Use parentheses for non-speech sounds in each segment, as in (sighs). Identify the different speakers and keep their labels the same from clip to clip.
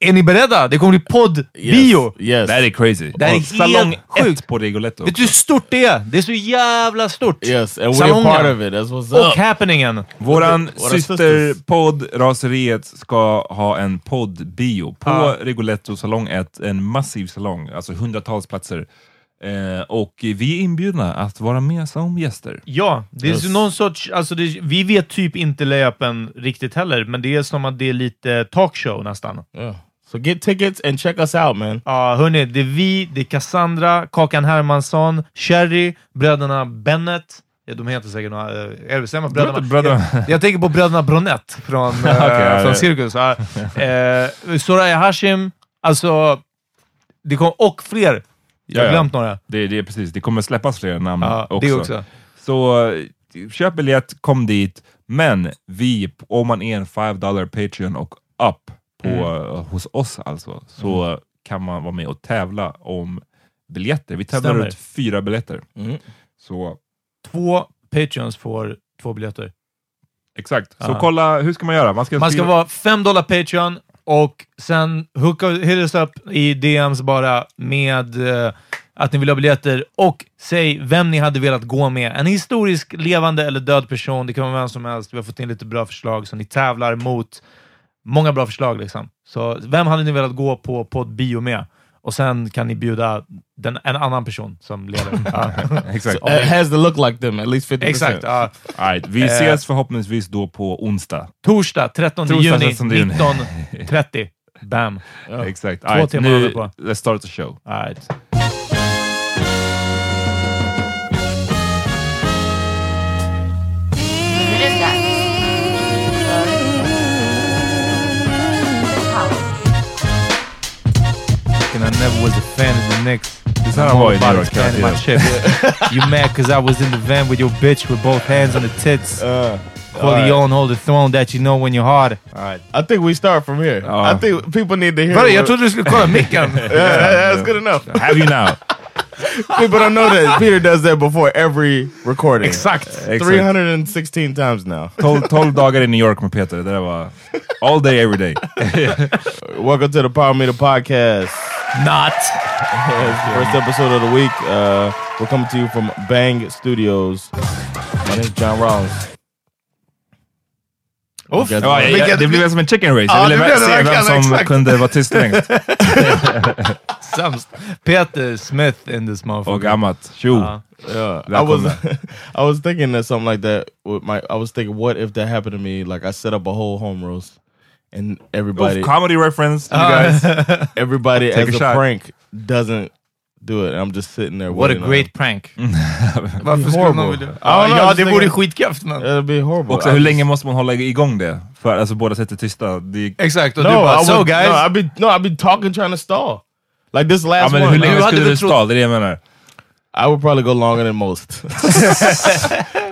Speaker 1: Är ni beredda? Det kommer bli podd-bio!
Speaker 2: Yes.
Speaker 3: Det här är crazy.
Speaker 1: Det här är
Speaker 3: Och Salong
Speaker 1: helt sjukt.
Speaker 3: ett på Rigoletto.
Speaker 1: Vet du hur stort det är? Det är så jävla stort!
Speaker 2: Yes, and we're
Speaker 1: Salongen.
Speaker 2: part of it. That's what's
Speaker 1: Och
Speaker 2: up.
Speaker 1: happeningen!
Speaker 3: Våran
Speaker 2: Våra
Speaker 3: systerpodd Raseriet ska ha en poddbio på
Speaker 1: Ja.
Speaker 3: Rigoletto salong 1. En massiv salong, alltså hundratals platser. Eh, och vi är inbjudna att vara med som gäster.
Speaker 1: Ja, det är
Speaker 2: Yes.
Speaker 1: så någon sorts... Alltså det, vi vet typ inte löpen riktigt heller, men det är som att det är lite talkshow nästan.
Speaker 2: Yeah. So get tickets and check us out, man.
Speaker 1: Ja, hörni, det är vi, det är Cassandra, Kakan Hermansson, Cherry, bröderna Bennet. Ja, de heter säkert några... eh, Är det bestämma? Bröderna.
Speaker 3: Brö- bröderna.
Speaker 1: Jag, jag tänker på bröderna Bronett från, eh,
Speaker 3: (laughs) Okej,
Speaker 1: från
Speaker 3: ja. (laughs)
Speaker 1: Cirkus. Ja. Eh, Soraya Hashim, alltså... Det kom, och fler! Jag har
Speaker 3: Ja, ja.
Speaker 1: glömt några.
Speaker 3: Det, det är precis, det kommer släppas fler namn
Speaker 1: Ja,
Speaker 3: också.
Speaker 1: det också.
Speaker 3: Så eh, köp biljett, kom dit. Men vi, om man är en 5 dollar Patreon och up på,
Speaker 2: Mm.
Speaker 3: hos oss alltså, så kan man vara med och tävla om biljetter. Vi tävlar
Speaker 1: Stämmer.
Speaker 3: ut fyra biljetter.
Speaker 2: Mm.
Speaker 3: Så
Speaker 1: Två Patreons får två biljetter.
Speaker 3: Exakt. Så
Speaker 2: Ah.
Speaker 1: Ja.
Speaker 3: kolla, hur ska man göra? Man ska,
Speaker 1: Man ska
Speaker 3: skriva-
Speaker 1: vara 5 dollar Patreon och sen hooka, hit us up i DMs bara med eh, att ni vill ha biljetter och säg vem ni hade velat gå med. En historisk levande eller död person. Det kan vara vem som helst. Vi har fått in lite bra förslag som ni tävlar mot. Många bra förslag liksom. Så vem hade ni velat gå på poddbio med? Och sen kan ni bjuda den, en annan person som leder. Ja.
Speaker 3: (laughs) Exakt.
Speaker 2: It Eh, has to look like them, at least Eh. 50%.
Speaker 1: Exakt. ja.
Speaker 3: All right, vi ses förhoppningsvis då på onsdag.
Speaker 1: Torsdag 13
Speaker 3: Torsdag,
Speaker 1: juni
Speaker 3: 13 juni. (laughs)
Speaker 1: 19.30. Bam.
Speaker 3: Exakt.
Speaker 1: Två
Speaker 3: All right,
Speaker 1: timmar
Speaker 3: nu,
Speaker 1: håller på.
Speaker 3: let's start the show.
Speaker 1: All
Speaker 2: Ah.
Speaker 1: right. And I never was a fan of the Knicks.
Speaker 3: Så här var ju New York
Speaker 1: fan of my
Speaker 3: Yankees. (laughs)
Speaker 1: chip. you mad because I was in the van with your bitch with both hands on the tits. Hold
Speaker 2: Alright.
Speaker 1: your own, hold the throne that you know when you're hard. Alright.
Speaker 2: I think we start from here.
Speaker 3: Ja.
Speaker 2: I think people need to hear.
Speaker 1: Brother, jag
Speaker 2: what-
Speaker 1: trodde du
Speaker 3: (laughs)
Speaker 1: skulle kolla micken.
Speaker 2: Yeah, that- that's good (laughs) enough.
Speaker 3: Have you now?
Speaker 2: People don't know that Peter does that before every recording.
Speaker 1: Exakt.
Speaker 3: Exakt.
Speaker 2: 316 times now.
Speaker 3: 12, 12 dagar i New York med Peter. Det där var all day every (laughs) day.
Speaker 2: Welcome to the Power Meter Podcast.
Speaker 1: Not.
Speaker 2: First episode of the week. Uh, we're coming to you from Bang Studios. My name's John Rollins. (laughs)
Speaker 3: Uff,
Speaker 2: Vilket-
Speaker 3: ja, jag, jag, det blev som en chicken race.
Speaker 2: Ja,
Speaker 3: Jag ville
Speaker 2: det
Speaker 3: vä-
Speaker 2: blev det
Speaker 3: se vem
Speaker 2: verkligen,
Speaker 3: som
Speaker 2: exakt.
Speaker 3: kunde vara tyst längst.
Speaker 1: Sämst. Peter Smith in this
Speaker 3: Och
Speaker 1: motherfucker.
Speaker 3: gammalt. Tjo!
Speaker 1: Ja.
Speaker 2: Yeah, I was
Speaker 3: Välkomna.
Speaker 2: I was thinking that something like that. With my, I was thinking, what if that happened to me? Like I set up a whole home roast, and everybody,
Speaker 3: Uff, comedy reference, you
Speaker 1: Ah.
Speaker 3: (laughs) guys.
Speaker 2: everybody
Speaker 3: Take
Speaker 2: as
Speaker 3: a
Speaker 2: a,
Speaker 3: shot.
Speaker 2: prank doesn't do it. And I'm just sitting there.
Speaker 1: What a
Speaker 2: waiting on
Speaker 1: great prank.
Speaker 3: Mm.
Speaker 1: Varför skulle
Speaker 2: horrible.
Speaker 1: man vilja...
Speaker 2: I don't
Speaker 1: Ja,
Speaker 2: know,
Speaker 1: ja,
Speaker 2: just
Speaker 1: det
Speaker 2: thinking-
Speaker 1: vore skitkraft men...
Speaker 2: it. It'd be horrible.
Speaker 3: Också,
Speaker 2: I
Speaker 3: hur
Speaker 2: just-
Speaker 3: länge måste man hålla igång det? För alltså, båda sitter tysta. Det,
Speaker 1: Exakt, och
Speaker 2: No,
Speaker 1: du
Speaker 2: I
Speaker 1: bara
Speaker 2: would,
Speaker 1: so guys.
Speaker 2: No, I'd be no, I'd be talking, trying to stall. Like this
Speaker 3: ja,
Speaker 2: last
Speaker 3: men hur
Speaker 2: one,
Speaker 3: länge
Speaker 2: I,
Speaker 3: skulle
Speaker 1: hade
Speaker 3: du
Speaker 1: väl trott-
Speaker 3: stå? Det är det jag menar.
Speaker 2: I would probably go longer than most. (laughs)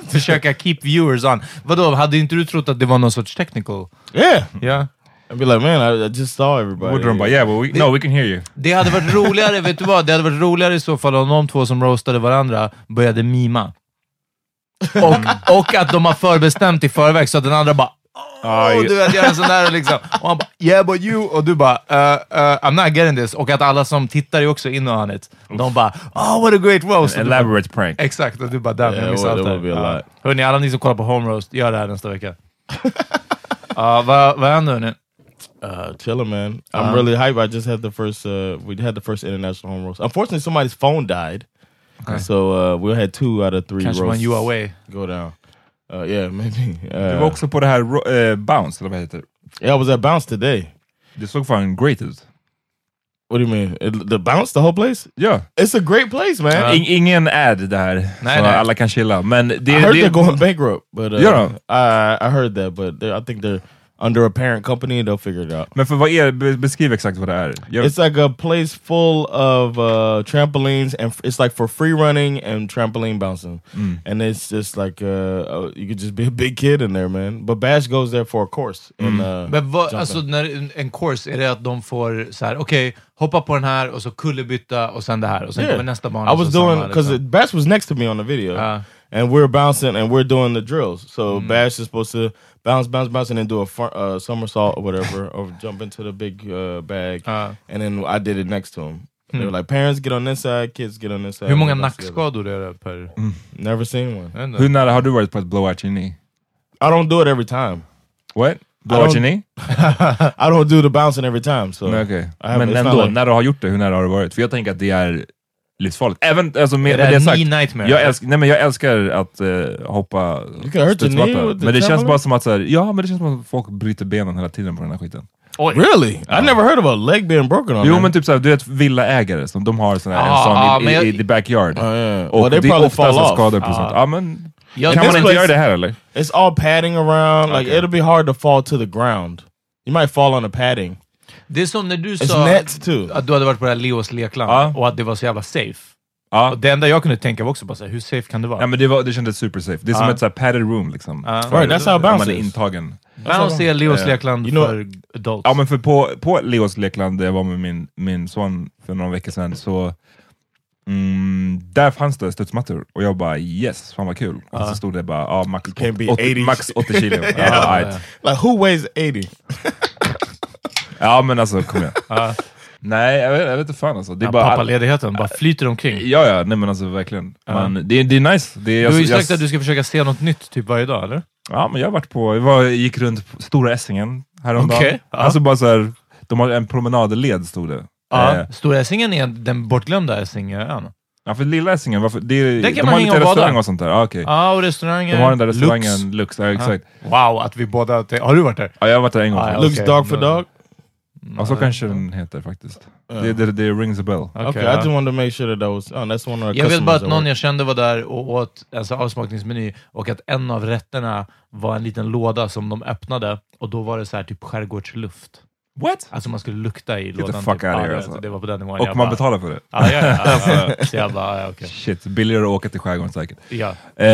Speaker 1: Försöka keep viewers on. Vadå, hade inte du trott att det var någon sorts technical?
Speaker 2: yeah,
Speaker 1: Ja.
Speaker 2: I'd be like, man, I, I just saw
Speaker 3: Borde de bara,
Speaker 2: everybody.
Speaker 3: yeah, but we, no, we can hear you.
Speaker 1: Det
Speaker 2: (laughs)
Speaker 1: hade varit roligare, vet du vad? Det hade varit roligare i så fall om de två som roastade varandra började mima.
Speaker 2: (laughs)
Speaker 1: Och, och att de har förbestämt i förväg så att den andra bara
Speaker 3: Ja,
Speaker 1: Åh, du vet, gör en sån där liksom. Och han bara “Yeah but you” och du bara uh, uh, “I'm not getting this” och att alla som tittar är också in on it. De bara “Oh what a great roast” och du bara,
Speaker 3: Elaborate prank.
Speaker 1: Exakt, och du bara “Damn,
Speaker 2: Yeah,
Speaker 1: jag missade
Speaker 2: it
Speaker 1: allt det
Speaker 2: would be a
Speaker 1: här."
Speaker 2: lot.
Speaker 1: Ja. Hörni, alla ni som kollar på Home Roast, gör det här nästa vecka. (laughs) Ja, vad, vad händer hörni?
Speaker 2: Uh, chilling, man. I'm
Speaker 1: Um,
Speaker 2: really hyped. I just had the first. Uh, we had the first international home roast. Unfortunately, somebody's phone died, so uh, we had two out of three
Speaker 1: Kanske man
Speaker 2: roasts
Speaker 1: you away.
Speaker 2: go down. Uh, yeah, (laughs) maybe.
Speaker 3: Du var
Speaker 2: Uh,
Speaker 3: också på det här ro- eh, Bounce, eller vad heter det?
Speaker 2: yeah, I was at Bounce today.
Speaker 3: Det såg fan great ut.
Speaker 2: What do you mean? It, the Bounce, the whole place?
Speaker 3: Ja.
Speaker 2: It's a great place, man.
Speaker 3: In, ingen ad där, så
Speaker 1: nej.
Speaker 3: alla kan chilla. Men det,
Speaker 2: I heard
Speaker 3: det,
Speaker 2: they're going bankrupt, but uh,
Speaker 3: Yeah.
Speaker 2: I I heard that, but they- I think they're under a parent company and they'll figure it out.
Speaker 3: men för vad är, be- beskriv exakt vad det är. Jag,
Speaker 2: It's like a place full of uh, trampolines, and f- it's like for free running and trampoline bouncing,
Speaker 1: Mm.
Speaker 2: and it's just like uh, uh, you could just be a big kid in there, man. But Bash goes there for a course.
Speaker 1: Mm.
Speaker 2: And, uh,
Speaker 1: Men vad,
Speaker 2: jumping.
Speaker 1: alltså när, en- en course, är det att de får så här, okej, hoppa på den här och så kullerbytta och sen det här och sen
Speaker 2: Yeah.
Speaker 1: kommer nästa bana.
Speaker 2: I
Speaker 1: och så
Speaker 2: was
Speaker 1: samma,
Speaker 2: doing
Speaker 1: liksom.
Speaker 2: because Bash was next to me on the video,
Speaker 1: Ah. Mm.
Speaker 2: and we are bouncing and we're doing the drills. So Bash is supposed to bounce, bounce, bounce, and then do a front, uh, somersault or
Speaker 1: (laughs)
Speaker 2: whatever, or jump into the big uh, bag.
Speaker 1: Ah. Hmm.
Speaker 2: And then I did it next to him. They were like, "Parents get on this side, kids get on this side."
Speaker 1: Hur många
Speaker 2: We bounce together.
Speaker 1: nackskador är det per...
Speaker 2: Mm. Never seen one.
Speaker 1: Jag vet inte.
Speaker 3: hur nära har du varit på att blow out your knee?
Speaker 2: I don't do it every time.
Speaker 3: What? Blow
Speaker 2: I
Speaker 3: out
Speaker 2: don't-
Speaker 3: your knee?
Speaker 2: I don't do the bouncing every time. So
Speaker 3: Nej, okej.
Speaker 2: I haven't-
Speaker 3: Men
Speaker 2: it's not
Speaker 3: ändå,
Speaker 2: like-
Speaker 3: när du har gjort det, hur nära har du varit? För jag tänker att det är livsfarligt. Även alltså, med,
Speaker 1: Är
Speaker 3: med
Speaker 1: det
Speaker 3: det
Speaker 1: en
Speaker 3: sagt,
Speaker 1: knee nightmare?
Speaker 3: jag, älsk, nej, men jag älskar att eh, hoppa
Speaker 2: can hurt your
Speaker 3: studsmatta.
Speaker 2: knee with the
Speaker 3: Men det känns
Speaker 2: trampoline?
Speaker 3: bara som att så här, ja, men det känns som att folk bryter benen hela tiden på den här skiten.
Speaker 2: really, I never heard of a leg being broken on.
Speaker 3: Jo
Speaker 2: that.
Speaker 3: men typ såhär, du vet villaägare, som de har sån här,
Speaker 1: Ja, ja,
Speaker 3: en sån i,
Speaker 1: men jag-
Speaker 3: i, i the backyard.
Speaker 2: Ja, ja, ja.
Speaker 3: Och
Speaker 2: Oh, Well, they
Speaker 3: det är
Speaker 2: probably
Speaker 3: ofta
Speaker 2: fall
Speaker 3: så
Speaker 2: off.
Speaker 3: skador på sånt. Ja, men,
Speaker 1: Jag-
Speaker 3: kan
Speaker 2: this
Speaker 3: man inte
Speaker 2: place-
Speaker 3: göra det här eller?
Speaker 2: It's all padding around. Like
Speaker 3: Okay.
Speaker 2: it'll be hard to fall to the ground. You might fall on the padding.
Speaker 1: Det är som när du
Speaker 2: It's
Speaker 1: sa
Speaker 2: nets too.
Speaker 1: att du hade varit på det här Leos lekland
Speaker 3: Ja.
Speaker 1: och att det var så jävla safe.
Speaker 3: Ja.
Speaker 1: Och det enda jag kunde tänka var också bara så här, hur safe kan det vara?
Speaker 3: Nej men det, var, det kändes super safe. Det är som
Speaker 1: Ja.
Speaker 3: ett såhär padded room liksom.
Speaker 1: Ja.
Speaker 3: För-
Speaker 2: Right, that's how
Speaker 3: om man
Speaker 2: bounce
Speaker 3: är
Speaker 2: is.
Speaker 3: intagen.
Speaker 1: Bounce är Leos lekland
Speaker 2: You know-
Speaker 1: för adults.
Speaker 3: Eh, Ja men för på, på Leos lekland där jag var med min, min son för några veckor sedan, så mm, där fanns det studsmattor och jag bara yes, fan vad kul. Och så stod det bara ja, max,
Speaker 2: can't be
Speaker 3: 80,
Speaker 2: 80.
Speaker 3: max 80 kilo. ja, right.
Speaker 2: Like who weighs eighty?
Speaker 3: ja men alltså kom igen. Nej jag vet, jag vet inte fan alltså. Det är
Speaker 1: Ja,
Speaker 3: bara, Eh,
Speaker 1: Pappaledigheten bara flyter omkring.
Speaker 3: Ja, ja, nej men alltså verkligen. Man, det, är- det är nice. Det är,
Speaker 1: Du har ju
Speaker 3: alltså,
Speaker 1: sagt att du ska försöka se något nytt typ varje dag, eller?
Speaker 3: Ja, men jag har varit på, jag var, gick runt på Stora Essingen häromdagen.
Speaker 1: Okej, ja.
Speaker 3: Alltså bara så här, de har en promenadled stod det. Eh,
Speaker 1: Ja. Stora Essingen är den bortglömda Essingön.
Speaker 3: ja, för Lilla Essingen, varför, det, är-
Speaker 1: Där kan
Speaker 3: de
Speaker 1: man
Speaker 3: har
Speaker 1: hänga
Speaker 3: lite
Speaker 1: och bada.
Speaker 3: restaurang och sånt där. Ja, okej.
Speaker 1: Ja, och restaurangen.
Speaker 3: De har den där
Speaker 1: Lux.
Speaker 3: restaurangen Lux, ja, exakt.
Speaker 1: Wow, att vi båda... te- Har du varit där? Ah,
Speaker 3: Ja, jag har varit där en gång.
Speaker 1: Ja,
Speaker 3: Ja,
Speaker 1: ja.
Speaker 2: Looks
Speaker 1: Okay,
Speaker 2: dog for
Speaker 1: no.
Speaker 2: dog.
Speaker 3: så kanske den heter faktiskt. Det, det, det rings a bell.
Speaker 2: Okay,
Speaker 1: ja.
Speaker 2: I just wanted to make sure that that was. Oh, that's one of our
Speaker 1: Jag vet
Speaker 2: customers.
Speaker 1: bara att
Speaker 2: at
Speaker 1: någon
Speaker 2: work.
Speaker 1: jag kände var där och åt alltså, avsmakningsmeny och att en av rätterna var en liten låda som de öppnade och då var det så här typ skärgårdsluft.
Speaker 3: What?
Speaker 1: Alltså man skulle lukta i lådan.
Speaker 3: fuck
Speaker 1: typ.
Speaker 3: out of
Speaker 1: Ja,
Speaker 3: here,
Speaker 1: det-
Speaker 3: alltså.
Speaker 1: Det var på den nivån.
Speaker 3: Och
Speaker 1: Jag
Speaker 3: man
Speaker 1: bara,
Speaker 3: betalar för det.
Speaker 1: Ja, ja, ja,
Speaker 3: (laughs)
Speaker 1: ja, ja. Så jag bara, ja, okej.
Speaker 3: Shit, billigare att åka till skärgården säkert.
Speaker 1: Ja.
Speaker 3: Eh,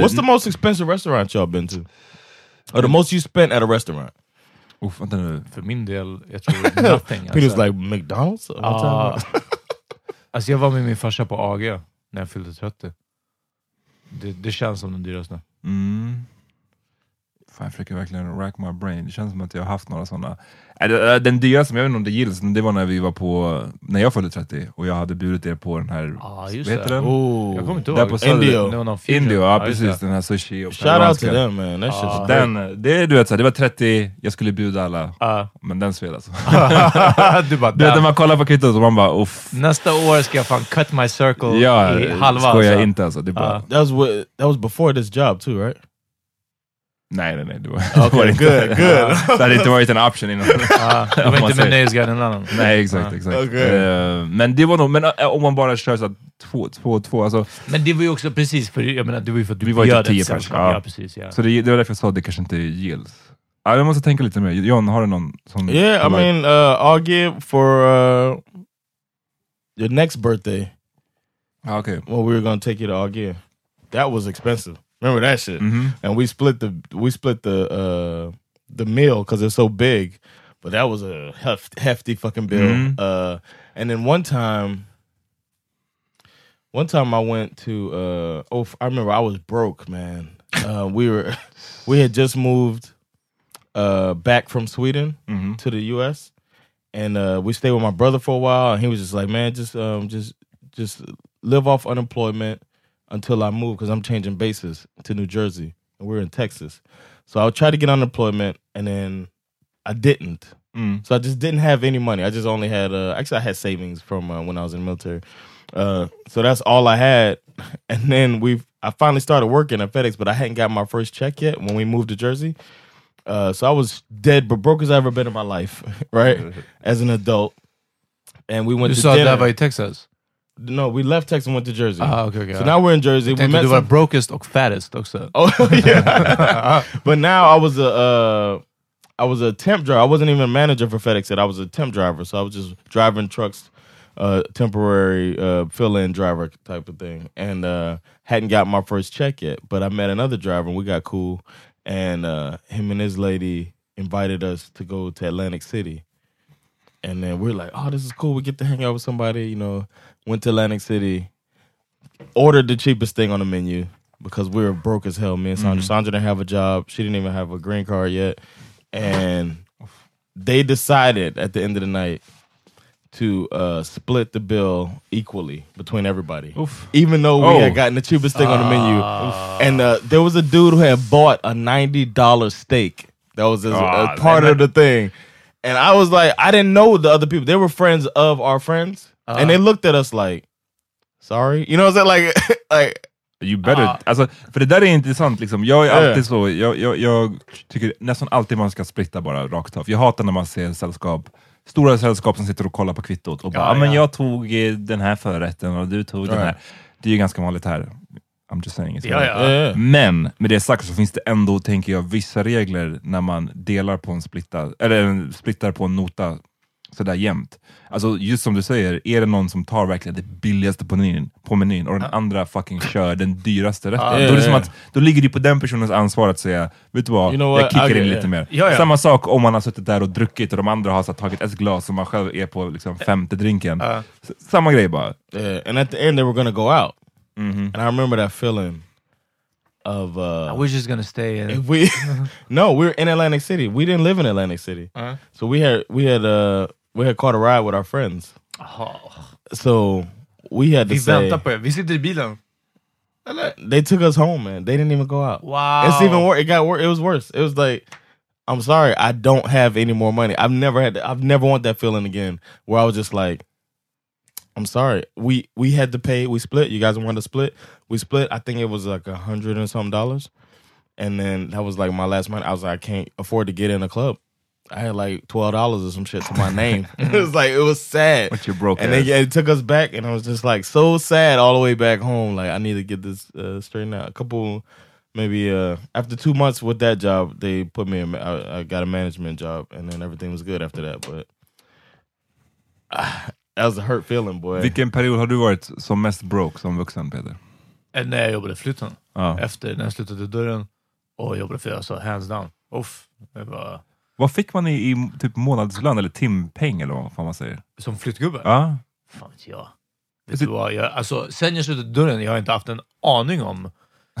Speaker 2: What's the most expensive restaurant y'all been to? Or the most you spent at a restaurant?
Speaker 3: Uff, vänta nu.
Speaker 1: För min del, jag tror
Speaker 3: (laughs)
Speaker 1: nothing. Alltså.
Speaker 2: Peter's like, McDonald's? What time
Speaker 1: Ja. alltså jag var med min farsa på AG när jag fyllde 30. Det, det känns som den dyraste.
Speaker 3: Mm. Fan, jag försöker verkligen rack my brain. Det känns som att jag har haft några sådana. Äh, det- äh, Den dyraste, men jag vet inte om det gills, men det var när vi var på, när jag fyllde 30 och jag hade bjudit er på den här, vad heter den?
Speaker 1: Jag kommer inte
Speaker 3: Där
Speaker 1: ihåg.
Speaker 3: på Söder.
Speaker 2: Indio.
Speaker 1: Det Oh, var någon fusion.
Speaker 3: Indio, ja
Speaker 1: just
Speaker 3: precis.
Speaker 1: det.
Speaker 3: Den här sushi och
Speaker 2: Shout out to
Speaker 3: peruanska.
Speaker 2: them man, that shit's great.
Speaker 3: Den, det, är, du vet, så här, det var 30, jag skulle bjuda alla,
Speaker 1: Ja.
Speaker 3: men den sved alltså.
Speaker 1: (laughs) du bara,
Speaker 3: du vet när
Speaker 1: "Damn."
Speaker 3: man kollar på kvittot och man bara uff.
Speaker 1: Nästa år ska jag fan cut my circle
Speaker 3: Ja,
Speaker 1: i halva.
Speaker 3: skojar
Speaker 1: alltså.
Speaker 3: inte alltså. Det är bara,
Speaker 1: Ja.
Speaker 2: That was what, that was before this job too, right?
Speaker 3: Nej, nej, nej. Det var, (laughs) det
Speaker 2: Okay,
Speaker 3: var inte,
Speaker 2: good,
Speaker 3: (laughs)
Speaker 2: good.
Speaker 3: det hade inte varit en option
Speaker 1: (laughs)
Speaker 3: innan. (laughs)
Speaker 1: Ja, du
Speaker 3: Om
Speaker 1: var
Speaker 3: man
Speaker 1: inte med
Speaker 3: säger-
Speaker 1: Nöjesguiden innan. annan.
Speaker 3: Nej, exakt. exakt.
Speaker 2: Okej.
Speaker 3: Eh, men det var nog, men eh, om man bara kör så här två, två, två. Alltså,
Speaker 1: Men det var ju också precis, för jag menar, det var ju för att du
Speaker 3: Vi var ju
Speaker 1: bjöd
Speaker 3: typ tio
Speaker 1: ett sällskap.
Speaker 3: personer, ja.
Speaker 1: Ja, precis. Ja.
Speaker 3: Så det, det var därför jag sa att det kanske inte gills. Ja, jag måste tänka lite mer. John, har du någon som...
Speaker 2: Yeah, I
Speaker 3: som-
Speaker 2: mean, uh, I'll give for uh, your next birthday
Speaker 3: Ja, okej.
Speaker 2: when we were gonna take you to Augie. That was expensive. Remember that shit?
Speaker 3: Mhm.
Speaker 2: And we split the we split the uh, the meal because it's so big. But that was a heft, hefty fucking bill.
Speaker 3: Mhm.
Speaker 2: Uh, and then one time, one time I went to uh, oh f- I remember I was broke man. Uh, we were (laughs) we had just moved uh, back from Sweden
Speaker 3: Mhm.
Speaker 2: to the U.S. and uh, we stayed with my brother for a while, and he was just like, "Man, just um, just just live off unemployment until I move because I'm changing bases to New Jersey, and we're in Texas, so I'll try to get unemployment, and then I didn't,
Speaker 3: Mm.
Speaker 2: so I just didn't have any money. I just only had uh, actually I had savings from uh, when I was in the military, uh, so that's all I had, (laughs) and then we I finally started working at FedEx, but I hadn't got my first check yet when we moved to Jersey. Uh, so I was dead, but broke as I ever been in my life, (laughs)
Speaker 1: (laughs)
Speaker 2: right? As an adult, and we went
Speaker 1: Du
Speaker 2: to
Speaker 1: sa att det
Speaker 2: dinner.
Speaker 1: här var i Texas?
Speaker 2: No, we left Texas and went to Jersey.
Speaker 1: Ah, okay, okay.
Speaker 2: So now we're in Jersey.
Speaker 1: Jag
Speaker 2: We
Speaker 1: tänkte
Speaker 2: met
Speaker 1: du var
Speaker 2: some-
Speaker 1: brokest och fattest också.
Speaker 2: oh yeah. but now I was a uh, I was a temp driver. I wasn't even a manager for FedEx. Yet. I was a temp driver, so I was just driving trucks, uh, temporary uh, fill-in driver type of thing, and uh, hadn't got my first check yet. But I met another driver, and we got cool. And uh, him and his lady invited us to go to Atlantic City. And then we're like, oh, this is cool. We get to hang out with somebody, you know. Went to Atlantic City, ordered the cheapest thing on the menu because we were broke as hell. Me and Sandra. Sandra didn't have a job. She didn't even have a green card yet. And they decided at the end of the night to uh, split the bill equally between everybody. Even though we
Speaker 3: Oh.
Speaker 2: had gotten the cheapest thing on the menu. And uh, there was a dude who had bought a $90 steak. That was his,
Speaker 3: Ah,
Speaker 2: a part
Speaker 3: man,
Speaker 2: of the thing. And I was like, I didn't know the other people. They were friends of our friends. and they looked at us like, sorry. You know what I'm saying? Like, (laughs) like
Speaker 3: You better...
Speaker 2: Ah.
Speaker 3: Alltså, för det där är intressant, liksom. jag är
Speaker 2: Ja, ja.
Speaker 3: alltid så, jag, jag, jag tycker nästan alltid man ska splitta bara rakt av. Jag hatar när man ser sällskap, stora sällskap som sitter och kollar på kvittot och bara
Speaker 1: Ja,
Speaker 3: ah, men
Speaker 1: ja.
Speaker 3: jag tog eh, den här förrätten och du tog den
Speaker 2: Ja.
Speaker 3: här. Det är ju ganska vanligt här. I'm just saying. it's
Speaker 1: Ja, ja.
Speaker 2: yeah.
Speaker 3: Men med det sagt så finns det ändå, tänker jag, vissa regler när man delar på en splitta, eller en splittar på en nota sådär jämt. Alltså just som du säger, är det någon som tar verkligen det billigaste på menyn, på menyn och den andra fucking kör den dyraste rätten, då, är det som att, då ligger det på den personens ansvar att säga, vet du vad,
Speaker 2: You know
Speaker 3: jag
Speaker 2: what?
Speaker 3: kickar
Speaker 2: Okay,
Speaker 3: in
Speaker 2: yeah.
Speaker 3: lite mer.
Speaker 1: Ja, ja.
Speaker 3: Samma sak om man har suttit där och druckit och de andra har så, här tagit ett glas och man själv är på liksom, femte drinken. S- Samma grej bara.
Speaker 2: Yeah, and at the end they were gonna go out, and I remember that feeling of
Speaker 1: I
Speaker 2: uh,
Speaker 1: was just gonna stay in.
Speaker 2: if we (laughs) no, we were in Atlantic City. We didn't live in Atlantic City, so we had we had uh we had caught a ride with our friends. So we had to
Speaker 1: Vi
Speaker 2: say
Speaker 1: väntar på er. Vi sitter i bilen.
Speaker 2: they took us home, man. They didn't even go out.
Speaker 1: Wow.
Speaker 2: It's even worse. It got worse. It was worse. It was like, I'm sorry, I don't have any more money. I've never had. I've never want that feeling again, where I was just like, I'm sorry. We we had to pay. We split. You guys wanted to split. We split. I think it was like a hundred and some dollars, and then that was like my last money. I was like, I can't afford to get in a club. I had like twelve dollars or some shit to
Speaker 3: (laughs)
Speaker 2: my name. it was like it was sad.
Speaker 3: But you broke
Speaker 2: And they,
Speaker 3: ass.
Speaker 2: yeah, it took us back, and I was just like so sad all the way back home. Like I need to get this uh, straightened out. A couple, maybe uh, after two months with that job, they put me. In, I, I got a management job, and then everything was good after that. But (sighs) that was a hurt feeling, boy.
Speaker 3: Vilken period har du varit som mest broke som vuxen, Peter?
Speaker 1: Eh, När jag jobbade i flytten.
Speaker 3: Ja.
Speaker 1: Efter, när jag slutade dörren och jobbade för jag sa hands down. Uff, det var...
Speaker 3: Vad fick man i, i typ månadslön eller timpeng eller vad fan man säger?
Speaker 1: Som flyttgubbe?
Speaker 3: Ja.
Speaker 1: Fan vet jag. Vet du vad? Jag, alltså, sen jag slutade dörren, jag har inte haft en aning om...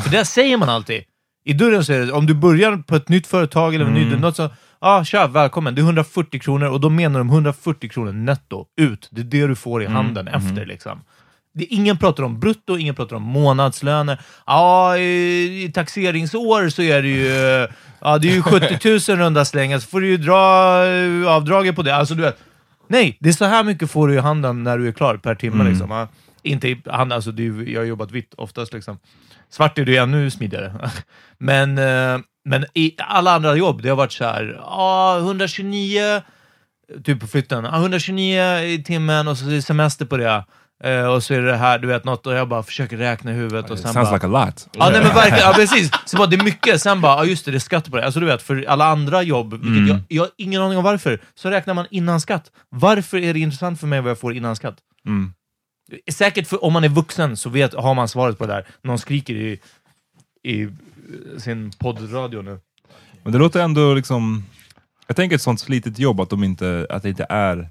Speaker 1: För det säger man alltid. I dörren så är det, om du börjar på ett nytt företag eller mm. nytt, något sånt, ah, tja, välkommen, det är 140 kronor och då menar de 140 kronor netto, ut. Det är det du får i handen efter liksom. Det, ingen pratar om brutto, ingen pratar om månadslöner. Ja, i, i taxeringsår så är det ju, ja, (laughs) det är ju 70 000 runda slängar, så får du ju dra eh, avdraget på det. Alltså, du vet, nej, det är så här mycket får du i handen när du är klar per timme. Liksom. Ja, inte i hand, alltså, det är, ju- jag har jobbat vitt oftast. Liksom. Svart är det ju ännu smidigare. (laughs) men, eh, men i alla andra jobb, det har varit så här, ja, 129 typ på flytten. Ah, 129 i timmen och så är det semester på det. Eh, och så är det här, du vet något, och jag bara försöker räkna i huvudet och sen
Speaker 3: Sounds
Speaker 1: bara...
Speaker 3: like a lot.
Speaker 1: Ja, nej,
Speaker 3: (laughs)
Speaker 1: men verkligen. Ja, precis. Så bara, det är mycket. Sen bara, ja just det, det är skatt på det. Alltså du vet, för alla andra jobb, vilket
Speaker 3: Mm.
Speaker 1: jag, jag har ingen aning om varför, så räknar man innan skatt. Varför är det intressant för mig vad jag får innan skatt?
Speaker 3: Mm.
Speaker 1: Säkert för, om man är vuxen så vet, har man svaret på det där. Någon skriker i, i sin poddradio nu.
Speaker 3: Men det låter ändå liksom... Jag tänker ett sånt slitigt jobb att, de inte, att det inte är...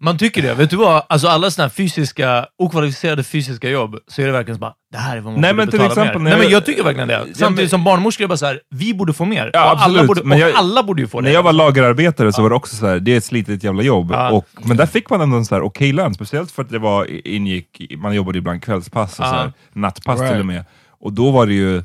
Speaker 1: Man tycker det. Vet du vad? Alltså alla såna här fysiska, okvalificerade fysiska jobb, så är det verkligen så bara, det här är vad man
Speaker 3: Nej,
Speaker 1: borde
Speaker 3: men till
Speaker 1: betala
Speaker 3: exempel när
Speaker 1: mer. Nej, men
Speaker 3: jag-
Speaker 1: jag tycker verkligen det. Samtidigt
Speaker 3: men-
Speaker 1: som barnmorskor är bara så här, vi borde få mer.
Speaker 3: Ja,
Speaker 1: och alla
Speaker 3: absolut,
Speaker 1: borde,
Speaker 3: men
Speaker 1: och
Speaker 3: jag-
Speaker 1: alla borde ju få det.
Speaker 3: När jag var lagerarbetare så var det också så här, det är ett slitigt jävla jobb.
Speaker 1: Ja.
Speaker 3: Och, men där fick man ändå en så här okej lön, speciellt för att det var, ingick, i- man jobbade ibland kvällspass och så
Speaker 1: Ja.
Speaker 3: här, nattpass
Speaker 2: Right.
Speaker 3: till och med. Och då var det ju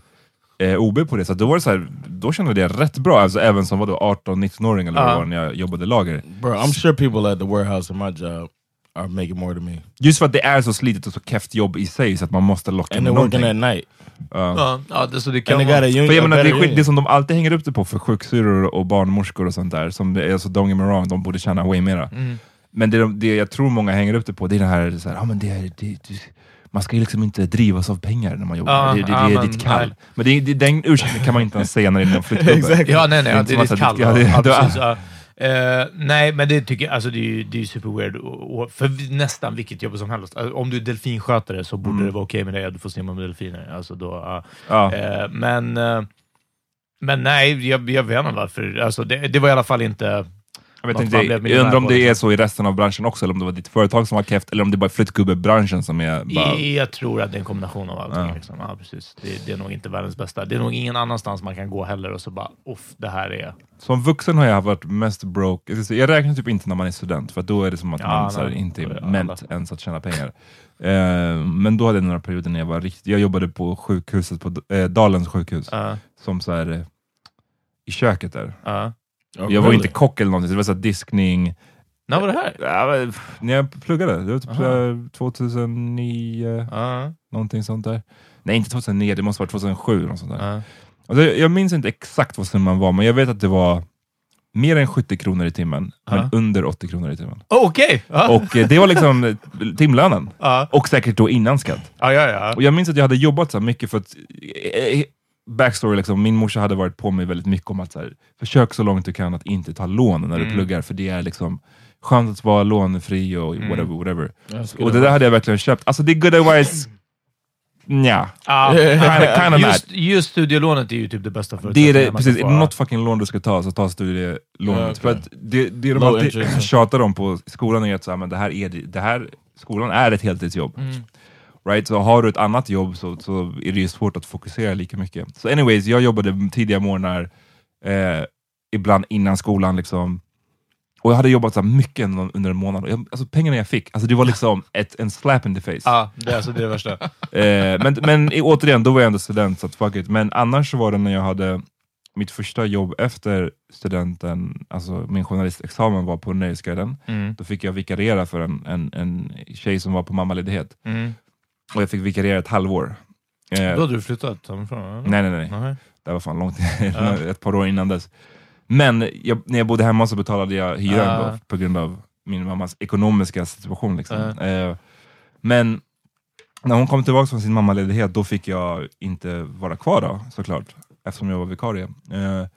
Speaker 3: eh, OB på det, så att då var det så här, då kände jag det rätt bra, alltså även som vadå, 18-19-åring eller vad det
Speaker 1: Ja.
Speaker 3: var när jag jobbade lager.
Speaker 2: Bro, I'm sure people at the warehouse in my job are making more than me.
Speaker 3: Just för att det är så slitigt och så keft jobb i sig så att man måste locka
Speaker 2: And
Speaker 3: med
Speaker 2: they're
Speaker 3: någonting.
Speaker 2: working at night.
Speaker 1: Ja, ja det, så det
Speaker 2: And
Speaker 1: kan
Speaker 2: they got
Speaker 1: vara...
Speaker 2: a union.
Speaker 3: För jag menar, det,
Speaker 2: a better
Speaker 3: är skit, det
Speaker 2: union.
Speaker 3: som de alltid hänger upp det på för sjuksyrror och barnmorskor och sånt där, som är så don't get me wrong, de borde tjäna way mera.
Speaker 1: Mm.
Speaker 3: Men det, de, det jag tror många hänger upp det på, det är det här, så här ah, men det, är- det, det, man ska ju liksom inte drivas av pengar när man jobbar,
Speaker 1: Ja,
Speaker 3: det, det, det
Speaker 1: ja,
Speaker 3: är
Speaker 1: men,
Speaker 3: ditt kall.
Speaker 1: nej.
Speaker 3: Men det, det, den ursäkten kan man inte ens säga när
Speaker 1: (laughs)
Speaker 3: det är en flyttgubbe.
Speaker 2: Exakt.
Speaker 1: (laughs) Ja, nej, nej, ja,
Speaker 3: inte
Speaker 1: det är
Speaker 3: som
Speaker 1: ditt
Speaker 3: att-
Speaker 1: kall.
Speaker 3: ja, det-
Speaker 1: ja,
Speaker 3: det-
Speaker 1: precis, ja. Eh, nej, men det tycker jag, alltså det är ju det är ju super weird. Och, och, för vi- nästan vilket jobb som helst. Alltså, om du är delfinskötare så borde det vara okej med det. Du får simma med delfiner. Alltså då, Mm. ja.
Speaker 3: Ja.
Speaker 1: Eh, men, eh, men nej, jag, jag vet inte varför. Alltså det, det var i alla fall inte...
Speaker 3: Jag, vet
Speaker 1: Vad
Speaker 3: inte,
Speaker 1: fan blev
Speaker 3: jag
Speaker 1: miljonär
Speaker 3: undrar om
Speaker 1: på
Speaker 3: det
Speaker 1: det?
Speaker 3: är så i resten av branschen också, eller om det var ditt företag som var keft, eller om det är bara flyttgubbebranschen som är bara...
Speaker 1: I, jag tror att det är en kombination av allting.
Speaker 3: Ja.
Speaker 1: Liksom. Ja, precis. Det, det är nog inte världens bästa. Det är nog ingen annanstans man kan gå heller och så bara, uff, det här är...
Speaker 3: Som vuxen har jag varit mest broke. Jag ska säga, Jag räknar typ inte när man är student, för att då är det som att
Speaker 1: Ja,
Speaker 3: man så här,
Speaker 1: nej.
Speaker 3: inte är
Speaker 1: Ja,
Speaker 3: ment
Speaker 1: alla.
Speaker 3: ens att tjäna pengar. Eh, men då hade jag några perioder när jag var riktigt... Jag jobbade på sjukhuset, på eh, Dalens sjukhus,
Speaker 1: Ja,
Speaker 3: som så här, eh, i köket där.
Speaker 1: ja.
Speaker 2: Oh,
Speaker 3: Jag var
Speaker 2: really?
Speaker 3: inte kock eller någonting, så det var så här diskning.
Speaker 1: När var det här?
Speaker 3: Ja, men, pff, när jag pluggade, det var typ
Speaker 1: Aha.
Speaker 3: så här 2009,
Speaker 1: Ja,
Speaker 3: någonting sånt där. Nej, inte 2009, det måste vara 2007. Något sånt där.
Speaker 1: ja.
Speaker 3: Alltså, jag jag minns inte exakt vad summan var, men jag vet att det var mer än 70 kronor i timmen,
Speaker 1: Ja.
Speaker 3: men under 80 kronor i timmen.
Speaker 1: Oh, Okej! Ja.
Speaker 3: Och eh, det var liksom eh, timlönen.
Speaker 1: Ja.
Speaker 3: Och säkert då innan skatt.
Speaker 1: Ja, ja, ja.
Speaker 3: Och jag minns att jag hade jobbat så här mycket för att... eh, eh, Backstory, liksom, min morsa hade varit på mig väldigt mycket om att så här, försök så långt du kan att inte ta lån när du
Speaker 1: Mm.
Speaker 3: pluggar, för det är liksom skönt att vara lånefri och
Speaker 1: Mm.
Speaker 3: whatever. whatever. Och det där hade jag verkligen köpt. Alltså det är good advice, nja.
Speaker 1: Ah, (laughs)
Speaker 3: Kinda, kinda mad.
Speaker 1: just, just studielånet är ju typ det bästa
Speaker 3: Det är
Speaker 1: förutsättningen
Speaker 3: det,
Speaker 1: man
Speaker 3: precis.
Speaker 1: kan
Speaker 3: Är
Speaker 1: få.
Speaker 3: det något fucking lån du ska ta, så ta liksom. studielånet.
Speaker 2: Ja, okej.
Speaker 3: För att det, det de
Speaker 2: Low
Speaker 3: alltid
Speaker 2: interest.
Speaker 3: tjatar om på skolan är att så här, men det här är, det här, skolan är ett heltidsjobb. Right? Så har du ett annat jobb så, så är det ju svårt att fokusera lika mycket. Så anyways, jag jobbade tidiga morgnar, eh, ibland innan skolan. liksom Och jag hade jobbat så här mycket en- under en månad. Och Jag, alltså pengarna jag fick, alltså det var liksom ett, en slap in the face.
Speaker 1: Ja, det, är alltså, det är det
Speaker 3: (laughs)
Speaker 1: värsta.
Speaker 3: Eh, men, men i- återigen, då var jag ändå student, så att fuck it. Men annars så var det när jag hade mitt första jobb efter studenten, alltså min journalistexamen var på Nöjesguiden.
Speaker 1: Mm.
Speaker 3: Då fick jag vikariera för en, en, en tjej som var på mammaledighet.
Speaker 1: Mm.
Speaker 3: Och jag fick vikariera ett halvår. Eh,
Speaker 1: Då hade du flyttat hemifrån? eller?
Speaker 3: nej, nej, nej.
Speaker 1: Nej.
Speaker 3: Det var fan långt, (laughs) ett par år innan dess. Men jag, när jag bodde hemma så betalade jag hyran
Speaker 1: Ah.
Speaker 3: då, på grund av min mammas ekonomiska situation. Liksom.
Speaker 1: Ah.
Speaker 3: Eh, men när hon kom tillbaka från sin mammaledighet, då fick jag inte vara kvar då, såklart, eftersom jag var vikarie. Eh,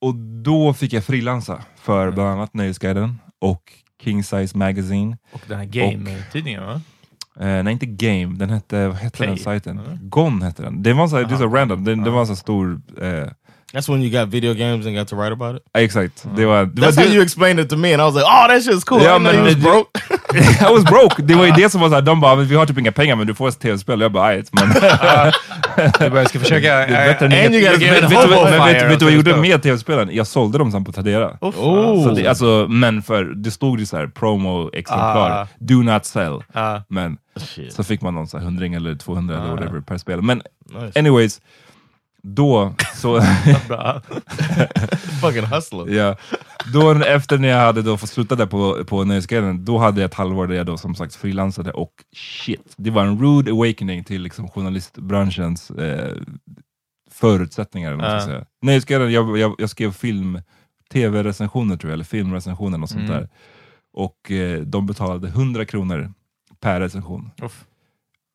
Speaker 3: och då fick jag frilansa
Speaker 1: Mm.
Speaker 3: för bland annat Nöjesguiden och King Size Magazine.
Speaker 1: Och den här game-tidningen, va?
Speaker 3: Eh, nej, inte Game. Den hette, vad hette
Speaker 1: Play.
Speaker 3: den sajten?
Speaker 1: Mm.
Speaker 3: Gon hette den. Det var så här, det är så
Speaker 1: Aha.
Speaker 3: random. Det, det var en så här stor eh,
Speaker 2: That's when you got video games and got to write about it.
Speaker 3: Ja, Exakt.
Speaker 1: Mm.
Speaker 3: Det var, det var
Speaker 2: That's how
Speaker 3: det,
Speaker 2: you explained it to me, and I was like, "Oh, that shit's cool."
Speaker 3: Ja,
Speaker 2: I didn't know
Speaker 3: men-
Speaker 2: you was broke.
Speaker 3: (laughs) I was broke. Det var ju det som var såhär, de bara, "Men vi har typ inga pengar men du får ett tv-spel. Jag bara, "Ajt, men
Speaker 1: (laughs) Du bara, jag ska försöka... eh,
Speaker 3: det är bättre än inget."
Speaker 2: And you gotta
Speaker 3: Men
Speaker 2: get
Speaker 3: vet-
Speaker 2: hobo
Speaker 3: vet- men
Speaker 1: fire
Speaker 3: vet- Vet du vad jag
Speaker 1: och
Speaker 3: gjorde
Speaker 1: tv-spel.
Speaker 3: med tv-spelen? Jag sålde dem sen på Tradera.
Speaker 1: Oh.
Speaker 3: Så det, alltså, men för det stod ju så här promo extra kvar. Do not sell. Men så fick man någon så här hundring eller 200 eller whatever per spel. Men anyways, då så... (laughs)
Speaker 2: Fucking hustler.
Speaker 3: ja, då efter när jag hade då fått sluta där på, på Nöjesguiden, då hade jag ett halvår där jag då som sagt frilansade och shit, det var en rude awakening till liksom journalistbranschens eh, förutsättningar. Eller vad man ska säga. Nöjesguiden, jag, jag, jag skrev film, tv-recensioner tror jag, eller filmrecensioner och sånt
Speaker 1: Mm.
Speaker 3: där. Och eh, de betalade 100 kronor per recension.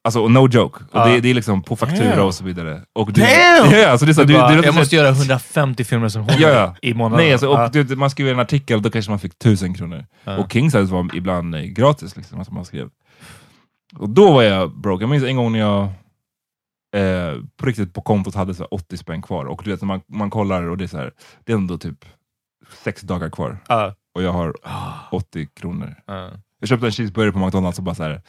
Speaker 3: Alltså, och no joke. Och det, det är liksom på faktura
Speaker 2: Damn.
Speaker 3: och så vidare. Och det,
Speaker 2: Damn!
Speaker 3: Ja, alltså det är så, du,
Speaker 1: Bara,
Speaker 3: du,
Speaker 1: jag måste göra 150 filmrecensioner
Speaker 3: Ja, ja.
Speaker 1: i månaden.
Speaker 3: Nej, alltså, och
Speaker 1: Ja.
Speaker 3: du, man skrev en artikel, då kanske man fick tusen kronor. Och Kingsize var ibland eh, gratis, liksom, alltså man skrev. Och då var jag broke. Jag minns en gång när jag eh, på riktigt på kontot hade så här 80 spänn kvar. Och du vet, när man, man kollar och det är så här, det är ändå typ sex dagar kvar.
Speaker 1: Ja.
Speaker 3: Och jag har 80 kronor.
Speaker 1: Ja.
Speaker 3: Jag köpte en cheeseburger på McDonalds och bara så här.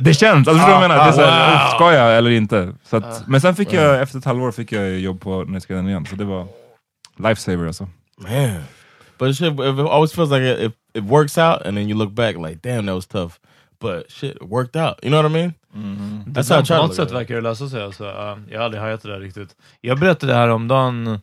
Speaker 1: (laughs)
Speaker 3: det känns! Alltså, förstår du vad jag menar? Det är så
Speaker 1: Ah,
Speaker 3: här, Ska jag eller inte? Så att, men sen fick
Speaker 1: Mm.
Speaker 3: jag, efter ett halvår fick jag jobb på Nöjesguiden igen, så det var lifesaver alltså.
Speaker 1: Eh,
Speaker 2: Man. But it, should, it always feels like it, it, it works out, and then you look back like, damn, that was tough. But shit, it worked out. You know what I mean? That's how I
Speaker 1: Alltså, På
Speaker 2: try to look
Speaker 1: något
Speaker 2: at
Speaker 1: sätt
Speaker 2: it.
Speaker 1: verkar det lösa sig. Alltså. Ja, Jag har aldrig hajat det där riktigt. Jag berättade häromdagen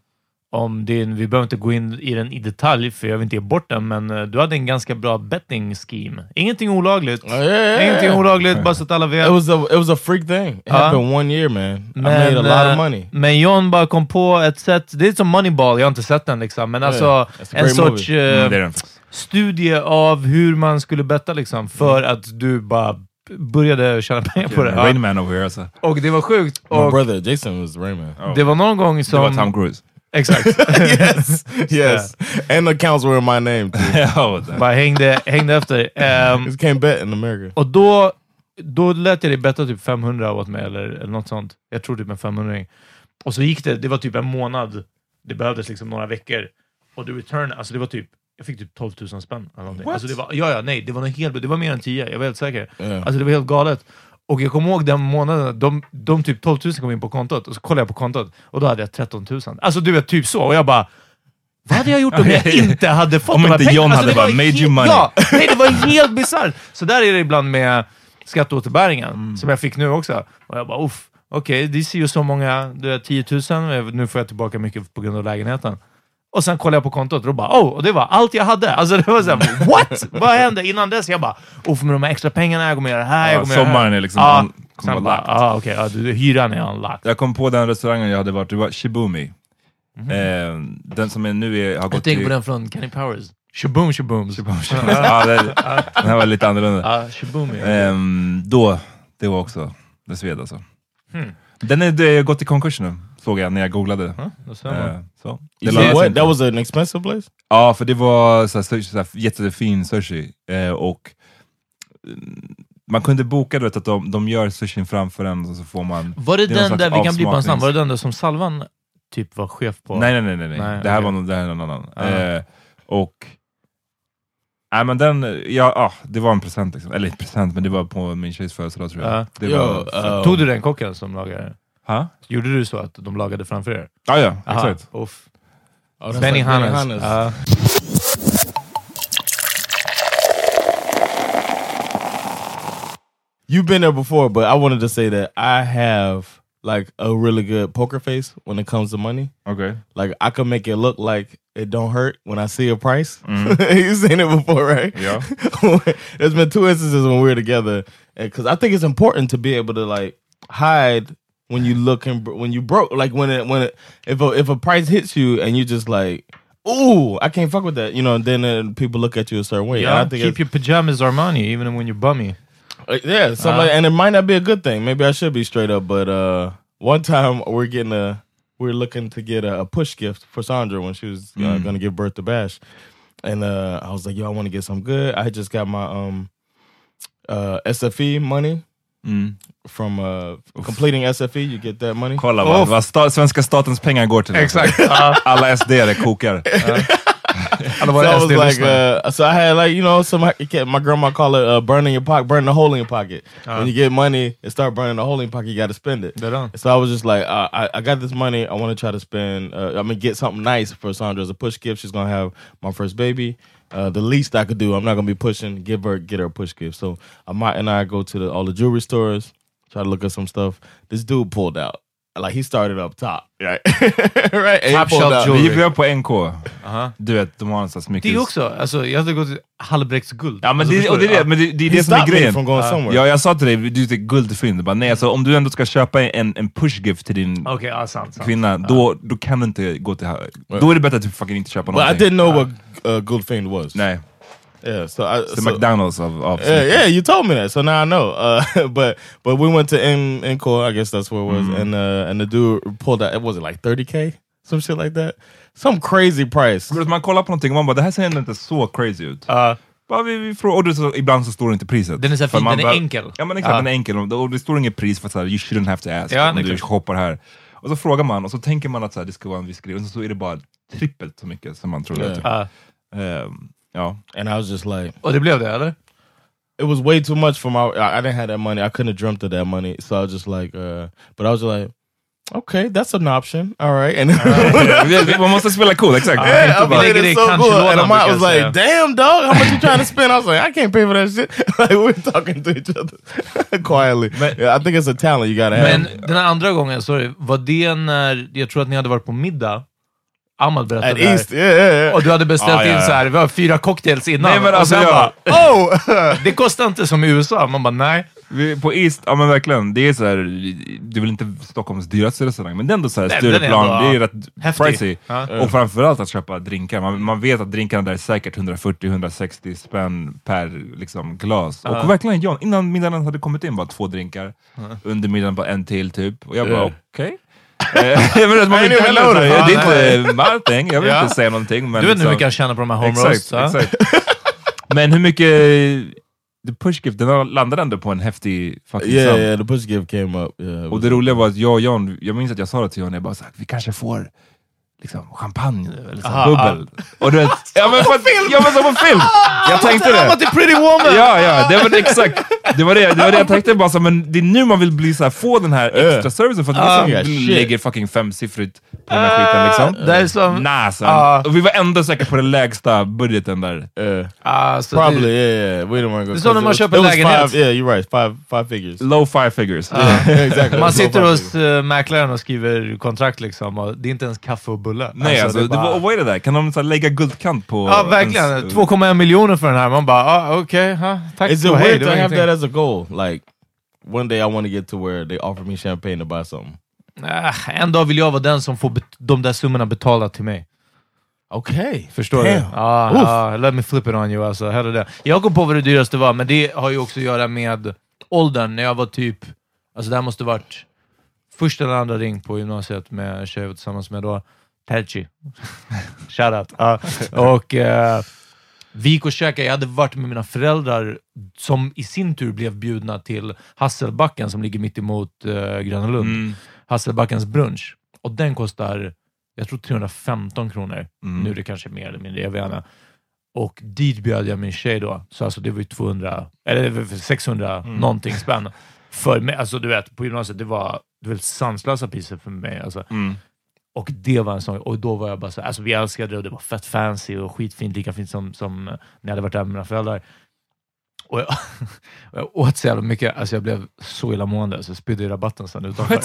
Speaker 1: om din, vi behöver inte gå in i den i detalj för jag vill inte ge bort den, men eh, du hade en ganska bra betting scheme. Ingenting olagligt.
Speaker 2: Ja, ja, ja, ja.
Speaker 1: Ingenting olagligt, bara så att alla vet.
Speaker 2: It was a it was a freak thing. It happened one year, man. I made a lot
Speaker 1: eh,
Speaker 2: of money.
Speaker 1: men John bara kom på ett sätt, det är som Moneyball, jag har inte sett den liksom, men alltså
Speaker 2: that's a
Speaker 1: en
Speaker 2: great
Speaker 1: sorts eh,
Speaker 3: Mm, det är den.
Speaker 1: studie av hur man skulle betta liksom, för
Speaker 2: Mm.
Speaker 1: att du bara började tjäna pengar på det.
Speaker 3: Yeah, Rain Man over here alltså.
Speaker 1: Ja. Och det var sjukt.
Speaker 2: My
Speaker 1: Och
Speaker 2: brother Jason was the Rayman.
Speaker 1: det var någon gång
Speaker 3: Det var
Speaker 1: som...
Speaker 3: Tom
Speaker 1: (laughs)
Speaker 3: Cruise.
Speaker 1: Exakt.
Speaker 2: yes, yes. (laughs) And the accounts were in my name. Too.
Speaker 3: (laughs) Ja, det-
Speaker 1: Bara hängde, hängde efter. Ehm,
Speaker 2: Just can't bet in America.
Speaker 1: och då, då lät jag dig betta typ 500 åt mig, eller, eller något sånt. Jag tror typ en 500 Och så gick det, det var typ en månad. Det behövdes liksom några veckor. Och the return, alltså det var typ, jag fick typ 12 000 spänn. Eller någonting. alltså det var, ja, ja, nej, det var, något helt, det var mer än 10, jag var helt säker. Alltså det var helt galet. Och jag kommer ihåg den månaden, de, de typ 12 000 kom in på kontot, och så kollade jag på kontot, och då hade jag 13 000. Alltså du vet, typ så. Och jag bara, vad hade jag gjort om jag inte hade fått
Speaker 3: Om
Speaker 1: de här
Speaker 3: inte John
Speaker 1: pengarna?
Speaker 3: hade
Speaker 1: Alltså, det
Speaker 3: bara
Speaker 1: var
Speaker 3: made you
Speaker 1: helt-
Speaker 3: money. (laughs)
Speaker 1: Ja, nej, det var helt bisarrt. Så där är det ibland med skatteåterbäringen,
Speaker 3: Mm.
Speaker 1: som jag fick nu också. Och jag bara, uff, okej, det ser ju så många, du är 10 000, nu får jag tillbaka mycket på grund av lägenheten. Och sen kollade jag på kontot och då bara oh, och det var allt jag hade. Alltså det var
Speaker 3: Mm.
Speaker 1: såhär, (laughs) what? Vad hände? Innan dess jag bara, oh, för med de här extra pengarna, jag kommer göra det här,
Speaker 3: Ja,
Speaker 1: jag kommer göra det här.
Speaker 3: sommaren är liksom
Speaker 1: Ja,
Speaker 3: un- kommer
Speaker 1: sen
Speaker 3: vara
Speaker 1: bara,
Speaker 3: lagt.
Speaker 1: ah, okej, ja, du- hyran är unlocked.
Speaker 3: Jag kom på den restaurangen jag hade varit det var Shibumi. Eh, den som är nu är, har
Speaker 1: Mhm. Jag
Speaker 3: gått
Speaker 1: tänker på den från Kenny Powers. Shaboom shabooms.
Speaker 3: (laughs) ja, det, den här var lite annorlunda.
Speaker 1: Ja, shaboom ja.
Speaker 3: Ehm, då, det var också, det sved alltså.
Speaker 1: Hmm.
Speaker 3: Den är, det har gått i konkurs nu, såg jag när jag googlade.
Speaker 1: Då ser man.
Speaker 3: Eh, så.
Speaker 2: You
Speaker 3: Det lönar
Speaker 2: said
Speaker 3: sig
Speaker 2: what?
Speaker 3: inte.
Speaker 2: That was an expensive place.
Speaker 3: Ja, för det var så här, sushi, så här, jättefin sushi. Eh, och mm, man kunde boka du vet, att de, de gör sushin framför en och så får man...
Speaker 1: Var det,
Speaker 3: det är någon
Speaker 1: den
Speaker 3: slags
Speaker 1: där, vi kan bli på hans namn,
Speaker 3: avsmaknings-
Speaker 1: var det den där som Salvan typ var chef på?
Speaker 3: Nej, nej, nej. nej, nej.
Speaker 1: Nej,
Speaker 3: det här
Speaker 1: okej.
Speaker 3: var någon, det här är någon annan.
Speaker 1: Ah.
Speaker 3: Eh, och... Nej men den, ja, ah, det var en present liksom. Eller present, men det var på min tjejs födelsedag tror jag.
Speaker 1: Ah.
Speaker 3: Det
Speaker 2: Yo,
Speaker 3: var...
Speaker 2: uh,
Speaker 1: Tog du den kocken som lagade?
Speaker 3: Ha?
Speaker 1: Gjorde du så att de lagade framför er?
Speaker 3: Ah, ja,
Speaker 1: Aha,
Speaker 3: exakt.
Speaker 1: uff.
Speaker 2: oh, that's
Speaker 1: Benny
Speaker 2: like
Speaker 1: Hannes.
Speaker 2: Hannes.
Speaker 1: Ja.
Speaker 2: You've been there before, but I wanted to say that I have like a really good poker face when it comes to money.
Speaker 3: Okej.
Speaker 2: Like I can make it look like it don't hurt when I see a price. (laughs) You've seen it before, right?
Speaker 3: Yeah.
Speaker 2: (laughs) There's been two instances when we were together because I think it's important to be able to like hide when you look and bro- when you broke. Like when it when it if a, if a price hits you and you just like. Ooh, I can't fuck with that, you know. And then uh, people look at you a certain way. And I
Speaker 1: Ja,
Speaker 2: think
Speaker 1: Keep
Speaker 2: it's-
Speaker 1: your pajamas Armani even when you're bummy.
Speaker 2: uh, yeah, something like, and it might not be a good thing. Maybe I should be straight up. But uh, one time we're getting a, we're looking to get a, a push gift for Sandra when she was uh, going to give birth to Bash, and uh, I was like, yo, I want to get some good. I had just got my um, uh, SFE money from uh, completing SFE. You get that money.
Speaker 3: Kolla vad,
Speaker 1: Uff.
Speaker 3: vad sta, svenska statens pengar går till. (laughs)
Speaker 1: Exakt. Ja.
Speaker 3: Alla SD-are
Speaker 1: (laughs)
Speaker 3: kokar.
Speaker 1: Alla
Speaker 2: So
Speaker 1: våra
Speaker 2: I was like,
Speaker 1: SD-lyssnare.
Speaker 2: uh, so I had like you know some my grandma call it uh, burning your pocket, burning a hole in your pocket. When you get money, it start burning a hole in your pocket. You got to spend it.
Speaker 1: Uh-huh. Dead on.
Speaker 2: So I was just like, uh, I I got this money. I want to try to spend. Uh, I'm gonna get something nice for Sandra as a push gift. She's gonna have my first baby. Uh, the least I could do, I'm not gonna be pushing. Give her, get her a push gift. So Amat and I go to the, all the jewelry stores, try to look at some stuff. This dude pulled out. Like he started up top, (laughs) right? right. And he
Speaker 1: Top
Speaker 2: pulled
Speaker 1: shelf
Speaker 2: out-
Speaker 1: jewelry.
Speaker 3: Vi var på NK. Du vet, de har någonstans mycket...
Speaker 1: det är också, alltså, jag hade gått till Hallbäcks guld.
Speaker 3: Ja, men
Speaker 1: alltså,
Speaker 3: det,
Speaker 1: förstår
Speaker 3: och det,
Speaker 1: du?
Speaker 3: är det, men det, det är
Speaker 2: He
Speaker 3: det som är
Speaker 2: stopped me
Speaker 3: grejen.
Speaker 2: from
Speaker 1: Uh,
Speaker 2: going somewhere.
Speaker 3: Ja, jag sa till dig, du är ett guldfynd. Bara, nej, alltså, om du ändå ska köpa en, en pushgift till din
Speaker 1: Okej, ja, sant. sant.
Speaker 3: kvinna, då, då kan du inte gå till... Då är det bättre att du fucking inte köper
Speaker 2: But I
Speaker 3: någonting.
Speaker 2: didn't know what uh, Goldfiend was.
Speaker 3: Nej,
Speaker 2: Yeah, so I
Speaker 3: the
Speaker 1: Alltså-
Speaker 2: so-
Speaker 3: McDonalds av... av
Speaker 1: Eh,
Speaker 2: Yeah, yeah, you told me that, so now I know. Uh, (laughs) but but we went to N Encore, I guess that's where it was, and uh, and the dude pulled out. It was it like thirty k, some shit like that, some crazy price.
Speaker 3: Bror, Man kollar på någonting och man bara, det här ser ändå inte så crazy ut.
Speaker 1: Ja.
Speaker 3: Bara, vi, vi frågar, och det, så, ibland så står det inte priset.
Speaker 1: Den är så här
Speaker 3: För
Speaker 1: fin,
Speaker 3: man
Speaker 1: den är
Speaker 3: bara-
Speaker 1: enkel.
Speaker 3: Ja, men exakt.
Speaker 1: Ja.
Speaker 3: Den är enkel. Och det- Och det står inget pris för att så här, you shouldn't have to ask
Speaker 1: Ja,
Speaker 3: om
Speaker 1: det är
Speaker 3: du
Speaker 1: klart.
Speaker 3: shoppar här. Och så frågar man och så tänker man att så här, det ska vara en viss grej och så, så är det bara trippelt så mycket som man trodde. att-
Speaker 1: Ja.
Speaker 3: Ehm, ja.
Speaker 2: And I was just like,
Speaker 1: Och det blev det, eller?
Speaker 2: it was way too much for my. I, I didn't have that money. I couldn't have dreamt of that money. So I was just like, uh, but I was like, okay, that's an option. All right, (laughs) and.
Speaker 3: man måste spela cool, exakt.
Speaker 2: Yeah,
Speaker 3: Inte
Speaker 2: I'm
Speaker 3: bara-
Speaker 2: like,
Speaker 1: Nigga, they
Speaker 2: it's so
Speaker 1: country
Speaker 2: good.
Speaker 1: loaded
Speaker 2: And
Speaker 1: on
Speaker 2: Amat
Speaker 1: the
Speaker 2: was
Speaker 1: gas,
Speaker 2: like,
Speaker 1: yeah.
Speaker 2: damn, dog, how much you trying to spend? I was like, I can't pay for that shit. (laughs) like, we we're talking to each other (laughs) quietly.
Speaker 3: But-
Speaker 2: yeah, I think it's a talent you gotta have.
Speaker 1: Men
Speaker 3: Ehm.
Speaker 1: den här andra gången, sorry, var det när, jag tror att ni hade varit på middag, Ahmad berättade
Speaker 2: At
Speaker 1: det här.
Speaker 2: East, yeah, yeah, yeah.
Speaker 1: Och du hade beställt
Speaker 3: Ah, ja,
Speaker 1: in
Speaker 3: ja.
Speaker 1: så här, vi har fyra cocktails innan.
Speaker 3: Nej, men
Speaker 1: och
Speaker 3: alltså,
Speaker 1: sen
Speaker 3: jag-
Speaker 1: bara, oh! Det kostar inte som i USA. Man bara, nej.
Speaker 3: Vi- På East, ja men verkligen. Det är så här, det är väl inte Stockholms dyraste restaurang, men det är ändå så här
Speaker 1: Nej, den är
Speaker 3: Stureplan,
Speaker 1: ändå,
Speaker 3: det är
Speaker 1: ja,
Speaker 3: rätt
Speaker 1: häftig.
Speaker 3: pricey.
Speaker 1: Ja. Mm.
Speaker 3: Och framförallt att köpa drinkar. Man, man vet att drinkarna där är säkert 140-160 spänn per liksom, glas. Och verkligen John, innan middagen hade kommit in bara två drinkar,
Speaker 1: Mm.
Speaker 3: under middagen bara en till typ. Och jag bara
Speaker 2: Ja.
Speaker 3: okej. (laughs) Eh, jag menar, man
Speaker 2: I
Speaker 3: vet inte
Speaker 2: didn't even
Speaker 3: heller så
Speaker 2: know
Speaker 3: här,
Speaker 2: that.
Speaker 3: Det är inte my thing, jag vill
Speaker 2: Ja.
Speaker 3: inte säga någonting. Men
Speaker 1: Du vet nu
Speaker 3: liksom-
Speaker 1: hur mycket jag tjänar på de här home roasts.
Speaker 3: Exakt,
Speaker 1: va?
Speaker 3: exakt. (laughs) Men hur mycket... The pushgift, den landade ändå på en häftig fucking
Speaker 2: yeah,
Speaker 3: sum.
Speaker 2: yeah, the push give came up. Yeah, it
Speaker 3: Och
Speaker 2: was-
Speaker 3: det roliga var att jag och John, jag minns att jag sa det till John, jag bara såhär, vi kanske får liksom champagne nu, eller så här, bubbel. Och du vet, ja men för att, jag var så på film! typ Jag tänkte det.
Speaker 1: The pretty woman!
Speaker 3: Ja, ja, det var det, exakt. Det var det, det var det jag tänkte bara, så, här, men det är nu man vill bli så här, få den här
Speaker 1: Eh.
Speaker 3: extra servicen, för att
Speaker 2: Ah,
Speaker 3: vissa
Speaker 2: shit.
Speaker 3: lägger fucking femsiffrigt på den här skiten liksom.
Speaker 1: Eh, det är som-
Speaker 3: Nah, son.
Speaker 1: Ah.
Speaker 3: Och vi var ändå säkert på den lägsta budgeten där.
Speaker 2: yeah.
Speaker 1: Alltså, det-
Speaker 2: Probably, yeah, yeah. We didn't want to go.
Speaker 1: This one
Speaker 2: 'cause
Speaker 1: of my
Speaker 2: it was-
Speaker 1: shop
Speaker 2: it was
Speaker 1: lagging
Speaker 2: five-
Speaker 1: hits.
Speaker 2: Yeah, you're right. Five, five figures.
Speaker 3: Low five
Speaker 1: Ah.
Speaker 3: figures.
Speaker 2: Yeah, (laughs) exactly.
Speaker 1: Man sitter
Speaker 2: Low five
Speaker 1: hos uh, mäklaren och skriver kontrakt liksom och det är inte ens kaffe och bullar.
Speaker 3: Nej, alltså,
Speaker 1: det är
Speaker 3: det
Speaker 1: bara-
Speaker 3: var, vad är det där? Kan de så här, lägga guldkant på...
Speaker 1: Ja, verkligen.
Speaker 3: ens- eh,
Speaker 1: 2,1 miljoner för den här. Man bara, ah, okej, ha, tack
Speaker 2: Is it
Speaker 1: och hej.
Speaker 2: weird
Speaker 1: Det
Speaker 2: to
Speaker 1: var
Speaker 2: have
Speaker 1: ingenting.
Speaker 2: that as a goal? Like, one day I want to get to where they offer me champagne to buy something.
Speaker 1: Ah, en dag vill jag vara den som får bet- de där summorna betalda till mig.
Speaker 2: Okay.
Speaker 1: Förstår du? Ah,
Speaker 2: Damn.
Speaker 1: Ja,
Speaker 2: Oof.
Speaker 1: ja, let me flip it on you alltså. Hellre det. Jag kom på vad det dyraste var, men det har ju också att göra med åldern. När jag var typ, alltså det här måste varit första eller andra ring på gymnasiet med en tjej jag var tillsammans med då, (laughs) Terci. Shoutout. Ja.
Speaker 2: (laughs)
Speaker 1: och eh, vi gick och käkade, jag hade varit med mina föräldrar som i sin tur blev bjudna till Hasselbacken som ligger mitt emot eh, Gröna Lund. Hasselbackens brunch. Och den kostar, jag tror 315 kronor. Nu är det kanske mer eller mindre, jag vet inte. Och dit bjöd jag min tjej då, så alltså det var ju 200, eller det var 600 någonting spänn. För mig, alltså du vet, på gymnasiet, det var, det var helt sanslösa priser för mig. Alltså. Och det var en sån, och då var jag bara så här, alltså vi älskade det och det var fett fancy och skitfint, lika fint som, som när jag hade varit där med mina föräldrar. Och jag, (laughs) och jag åt så jävla mycket, alltså jag blev så illamående så jag spydde i rabatten sen utanför.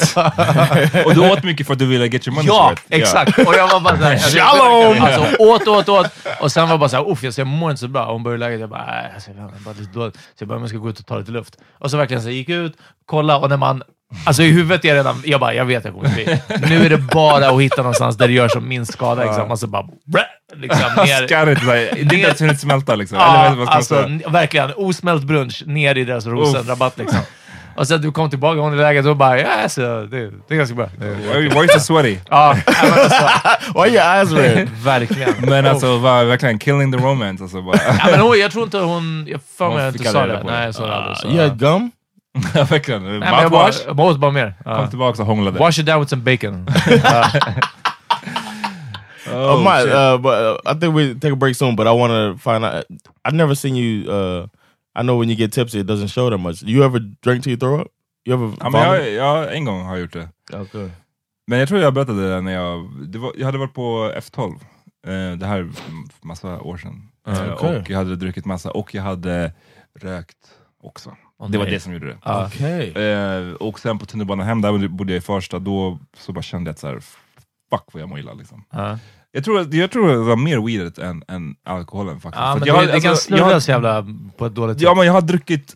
Speaker 3: (laughs) Och du åt mycket för att du ville get your money
Speaker 1: Ja, exakt! Och jag var bara såhär...
Speaker 3: Shalom!
Speaker 1: Alltså, åt, åt, åt. Och sen var bara såhär, uff, jag ser- jag mår inte så bra. Och hon började läget, jag bara, nej, alltså, jag mår bara lite dåligt. Så jag bara, men jag ska gå ut och ta lite luft. Och så verkligen så här, gick jag ut, kolla och när man... Alltså i huvudet är jag redan, jag bara, jag vet jag kommer bli. Nu är det bara att hitta någonstans där det gör som minst skada. Liksom. Alltså bara, brä, liksom ner.
Speaker 3: Skarret, det är inte ens hunnit smälta liksom.
Speaker 1: Ja,
Speaker 3: Eller vad ska man
Speaker 1: alltså,
Speaker 3: säga?
Speaker 1: n- verkligen. Osmält brunch ner i deras rosenrabatt liksom. Och sen du kom tillbaka, hon i läget och bara, ja, alltså, det, det är ganska bra.
Speaker 3: Why are you so sweaty?
Speaker 1: Ja,
Speaker 2: Why your (laughs) eyes
Speaker 3: (laughs)
Speaker 2: red?
Speaker 1: verkligen.
Speaker 3: Men alltså, va, verkligen, killing the
Speaker 1: (laughs)
Speaker 3: romance. Alltså, bara. (laughs)
Speaker 1: Ja, men hon, jag tror inte hon... Jag för mig
Speaker 3: Hon
Speaker 1: jag inte
Speaker 3: fick
Speaker 1: sa
Speaker 3: aldrig reda
Speaker 1: det.
Speaker 3: på det. Ah,
Speaker 2: (laughs)
Speaker 1: Nej, jag sa det aldrig. Så.
Speaker 2: Uh, You had gum?
Speaker 3: Ja, verkligen.
Speaker 1: Nej, men jag, bara,
Speaker 3: Mouthwash.
Speaker 1: jag åt bara mer. Ja.
Speaker 3: Kom tillbaka och hånglade.
Speaker 1: Wash it down with some
Speaker 3: (laughs)
Speaker 1: bacon.
Speaker 3: Oh,
Speaker 2: uh, my,
Speaker 3: shit.
Speaker 2: uh, but uh, I think we take a break soon. But I want to find out. I've never seen you. Uh, I know when you get tipsy, it doesn't show that much. You ever drink till you throw up? You ever?
Speaker 3: Ja, men
Speaker 2: vomit?
Speaker 3: jag, jag, en gång har jag gjort det.
Speaker 2: Okay.
Speaker 3: Men jag tror jag berättade det när jag, det var, jag hade varit på F12, eh, det här är massa år sedan. Eh,
Speaker 2: Okej.
Speaker 3: Och jag hade druckit massa och jag hade rökt också. det var
Speaker 1: nej.
Speaker 3: det som gjorde det.
Speaker 2: Okay.
Speaker 3: Eh, och sen på tunnelbanan hem, där bodde jag i Farsta, då så bara kände jag att så här, fuck vad jag mår illa. Liksom.
Speaker 1: Ja.
Speaker 3: Jag, tror, att- jag tror det var mer weedet än, än alkoholen faktiskt.
Speaker 1: Ja,
Speaker 3: För att
Speaker 1: men
Speaker 3: jag,
Speaker 1: det,
Speaker 3: har-
Speaker 1: det
Speaker 3: alltså,
Speaker 1: kan
Speaker 3: jag har-
Speaker 1: snurras jävla på ett dåligt
Speaker 3: Ja, men jag har druckit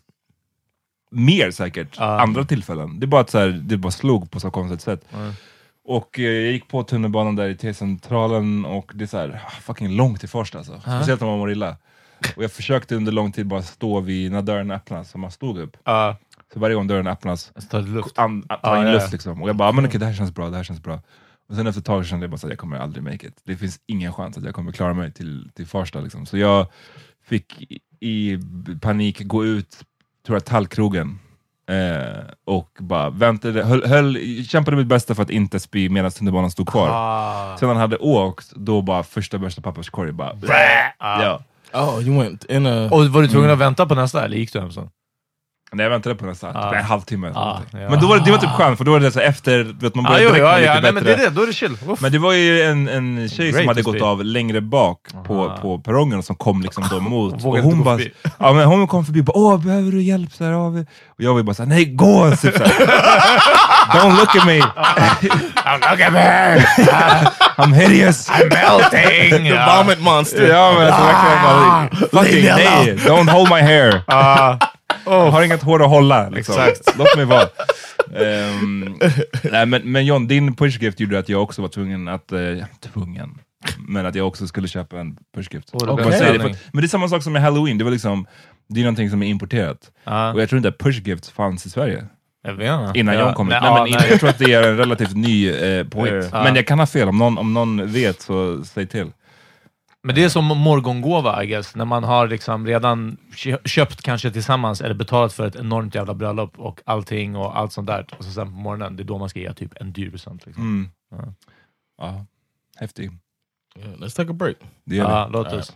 Speaker 3: mer säkert,
Speaker 1: Ja.
Speaker 3: andra tillfällen. Det är bara att så här, det bara slog på så konstigt sätt.
Speaker 1: Ja.
Speaker 3: Och eh, jag gick på tunnelbanan där i T-centralen och det är så här, ah, fucking långt till Farsta alltså. Speciellt om man mår illa. Och jag försökte under lång tid bara stå vid, när dörren öppnas, så man stod upp.
Speaker 1: Ja,
Speaker 3: Så varje gång dörren öppnas,
Speaker 1: jag tar lite luft.
Speaker 3: an, a- ta
Speaker 1: Ja,
Speaker 3: in
Speaker 1: ja, ja.
Speaker 3: luft liksom. Och jag bara, ah, men okej det här känns bra, det här känns bra. Och sen efter ett tag kände jag bara att jag kommer aldrig make it. Det finns ingen chans att jag kommer klara mig till, till Farsta. Liksom. Så jag fick i, i panik gå ut, tror jag, tallkrogen. Eh, och bara väntade, höll, höll, kämpade mitt bästa för att inte spy medan tunnelbanan stod kvar.
Speaker 1: Ah.
Speaker 3: Sen han hade åkt, då bara första bästa papperskorg bara...
Speaker 1: Ah.
Speaker 3: Ja.
Speaker 2: Oh, you went in a.
Speaker 1: Och var du tvungen att vänta på nästa, eller gick du hem sen?
Speaker 3: Nej, jag väntade på nästa,
Speaker 1: Ah.
Speaker 3: typ en halvtimme. eller
Speaker 1: Ah,
Speaker 3: någonting.
Speaker 1: ja.
Speaker 3: Men då var det, det var typ skönt, för då var det så här efter, du vet, man
Speaker 1: Ah,
Speaker 3: började
Speaker 1: jo,
Speaker 3: direkt
Speaker 1: ja,
Speaker 3: må lite
Speaker 1: ja. Nej,
Speaker 3: bättre.
Speaker 1: men det är det. Då är det chill. Uff. (laughs)
Speaker 3: Men det var ju en, en tjej
Speaker 1: Great
Speaker 3: som hade
Speaker 1: to
Speaker 3: gått
Speaker 1: see.
Speaker 3: av längre bak på,
Speaker 1: Aha.
Speaker 3: på perrongen som kom liksom då mot.
Speaker 1: Vågade
Speaker 3: och
Speaker 1: inte
Speaker 3: hon,
Speaker 1: gå
Speaker 3: bara,
Speaker 1: förbi.
Speaker 3: ja, men hon kom förbi och bara ”Åh, behöver du hjälp?” så här, av er?" Och jag var ju bara såhär ”Nej, gå!” typ, så här. ”Don't look
Speaker 1: (laughs)
Speaker 3: at me!
Speaker 1: Don't look at me!
Speaker 3: (laughs) I'm hideous!” (laughs)
Speaker 1: I'm melting!
Speaker 2: the vomit monster.
Speaker 3: Ja, men alltså verkligen bara, fucking nej! Don't hold my hair!
Speaker 1: Ah.
Speaker 3: Jag har inget hår att hålla. Liksom. Låt mig vara. Ehm, nej, men, men John, din pushgift gjorde att jag också var tvungen att... Eh, tvungen? Men att jag också skulle köpa en pushgift.
Speaker 1: Och det
Speaker 3: Och
Speaker 1: blev
Speaker 3: man
Speaker 1: en
Speaker 3: säger det,
Speaker 1: ställning.
Speaker 3: för- Men det är samma sak som med halloween, det var liksom... Det är någonting som är importerat.
Speaker 1: Ja.
Speaker 3: Och jag tror inte att pushgifts fanns i Sverige
Speaker 1: Jag vet inte.
Speaker 3: innan
Speaker 1: Ah. Ja,
Speaker 3: jag kom hit.
Speaker 1: ja,
Speaker 3: Nej, men,
Speaker 1: nej.
Speaker 3: Jag tror att det är en relativt ny eh, point.
Speaker 1: Ja.
Speaker 3: Men jag kan ha fel, om någon, om någon vet så säg till.
Speaker 1: Men det är som morgongåva, I guess. När man har liksom redan kö- köpt kanske tillsammans eller betalat för ett enormt jävla bröllop och allting och allt sånt där. Och så sen på morgonen, det är då man ska ge typ en dyr present. Liksom.
Speaker 3: Mm. Ja. Häftig.
Speaker 2: Yeah, let's take a break.
Speaker 3: Det gör vi.
Speaker 1: Ja, låt oss.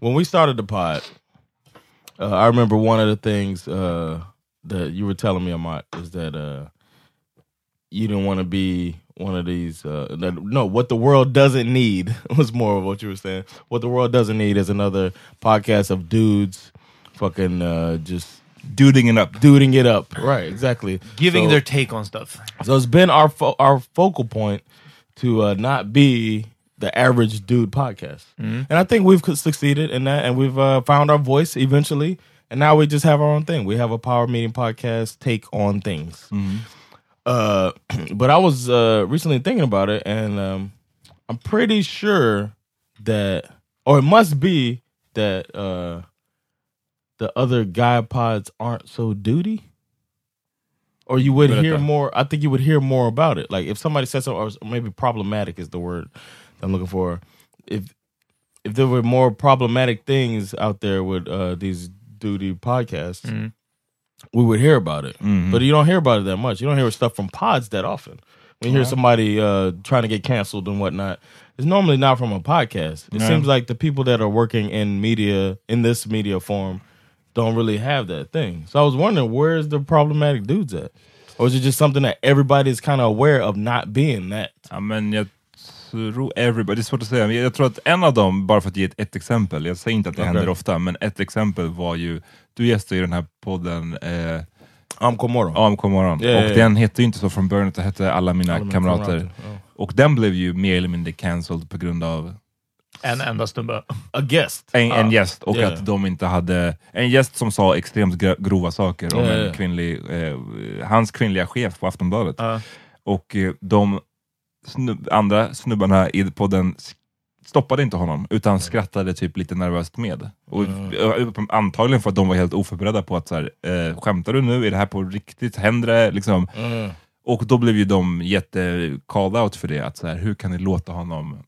Speaker 2: when we started the pod, uh, I remember one of the things uh, that you were telling me, Amat, is that uh, you didn't want to be one of these. Uh, that, no, what the world doesn't need (laughs) was more of what you were saying. What the world doesn't need is another podcast of dudes fucking uh, just
Speaker 3: Duding it up.
Speaker 2: duding it up. Right, exactly.
Speaker 1: Giving
Speaker 2: So-
Speaker 1: their take on stuff.
Speaker 2: so it's been our fo our focal point to uh, not be the average dude podcast, and I think we've succeeded in that, and we've uh, found our voice eventually, and now we just have our own thing. We have a power meeting podcast take on things. Uh, (clears throat) but I was uh, recently thinking about it, and um, I'm pretty sure that, or it must be that uh, the other guy pods aren't so duty. or you would hear
Speaker 3: Berätta.
Speaker 2: more. I think you would hear more about it. Like if somebody said something, or maybe problematic is the word that I'm looking for. If if there were more problematic things out there with uh, these duty podcasts, we would hear about it. But you don't hear about it that much. You don't hear stuff from pods that often. When you hear somebody uh, trying to get canceled and whatnot, it's normally not from a podcast. It seems like the people that are working in media in this media form don't really have that thing. So I was wondering where's the problematic dudes at? Or is it just something that everybody's kind of aware of not being that?
Speaker 3: Ja, men jag tror everybody, det är svårt att säga, men jag tror att en av dem, bara för att ge ett, ett exempel, jag säger inte att det händer ofta, men ett exempel var ju, du gästade ju den här podden eh,
Speaker 2: I'm Komoro.
Speaker 3: AMK morgon,
Speaker 2: Ja, ja,
Speaker 3: och
Speaker 2: ja.
Speaker 3: den hette ju inte så från början, utan hette Alla mina
Speaker 2: Alla mina
Speaker 3: kamrater.
Speaker 2: kamrater,
Speaker 3: Och den blev ju mer eller mindre cancelled på grund av
Speaker 1: En enda snubbe.
Speaker 2: A guest.
Speaker 3: en, en gäst och
Speaker 2: Ja.
Speaker 3: att de inte hade... En gäst som sa extremt gro- grova saker om
Speaker 2: Ja,
Speaker 3: en
Speaker 2: ja.
Speaker 3: kvinnlig, eh, hans kvinnliga chef på Aftonbladet.
Speaker 1: Ja.
Speaker 3: Och eh, de snubb, andra snubbarna i podden s- stoppade inte honom, utan skrattade typ lite nervöst med. Och, eh, Antagligen för att de var helt oförberedda på att så här, eh, skämtar du nu? Är det här på riktigt? Händer det? Liksom. Och då blev ju de jätte called out för det, att så här, hur kan ni låta honom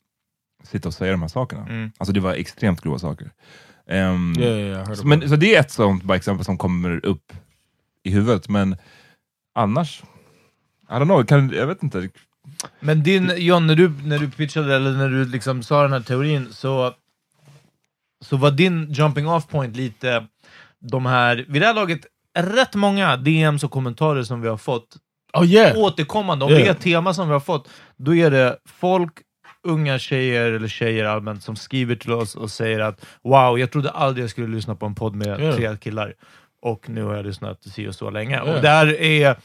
Speaker 3: sitta och säga de här sakerna?
Speaker 1: Mm.
Speaker 3: Alltså det var extremt grova saker. Ehm,
Speaker 2: Yeah, yeah, yeah, I heard
Speaker 3: så,
Speaker 2: about
Speaker 3: men,
Speaker 2: it.
Speaker 3: så det är ett sånt bara exempel som kommer upp i huvudet, men annars, I don't know, kan, jag vet inte.
Speaker 1: Men din, John, när du, när du pitchade, eller när du liksom sa den här teorin, så, så var din jumping off point lite de här, vid det här laget, rätt många DMs och kommentarer som vi har fått
Speaker 2: Oh yeah.
Speaker 1: återkommande, om
Speaker 2: Ja.
Speaker 1: det är ett tema som vi har fått, då är det folk, unga tjejer eller tjejer allmänt, som skriver till oss och säger att wow, jag trodde aldrig jag skulle lyssna på en podd med
Speaker 2: Ja.
Speaker 1: tre killar och nu har jag lyssnat si och så länge.
Speaker 2: Ja.
Speaker 1: Och där är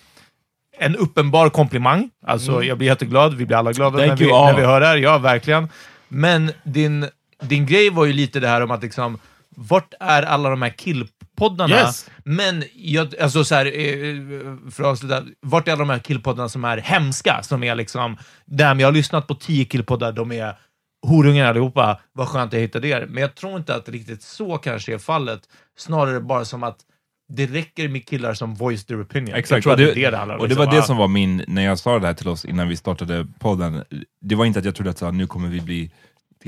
Speaker 1: en uppenbar komplimang. Alltså, jag blir jätteglad, vi blir alla glada när
Speaker 2: Mm. Thank
Speaker 1: vi,
Speaker 2: you all.
Speaker 1: när vi hör det här. Ja, verkligen. Men din, din grej var ju lite det här om att liksom, vart är alla de här killpoddarna?
Speaker 2: Yes.
Speaker 1: Men, jag, alltså så här, eh, för att avsluta, vart är alla de här killpoddarna som är hemska? Som är liksom, där men jag har lyssnat på tio killpoddar, de är horungar allihopa, vad skönt jag hittade er. Men jag tror inte att riktigt så kanske är fallet, snarare bara som att det räcker med killar som voice their opinion. Jag tror
Speaker 3: och
Speaker 1: att det är det det handlar om.
Speaker 3: och det
Speaker 1: liksom.
Speaker 3: var det
Speaker 1: Ah.
Speaker 3: som var min, när jag sa det här till oss innan vi startade podden, det var inte att jag trodde att så, här, nu kommer vi bli,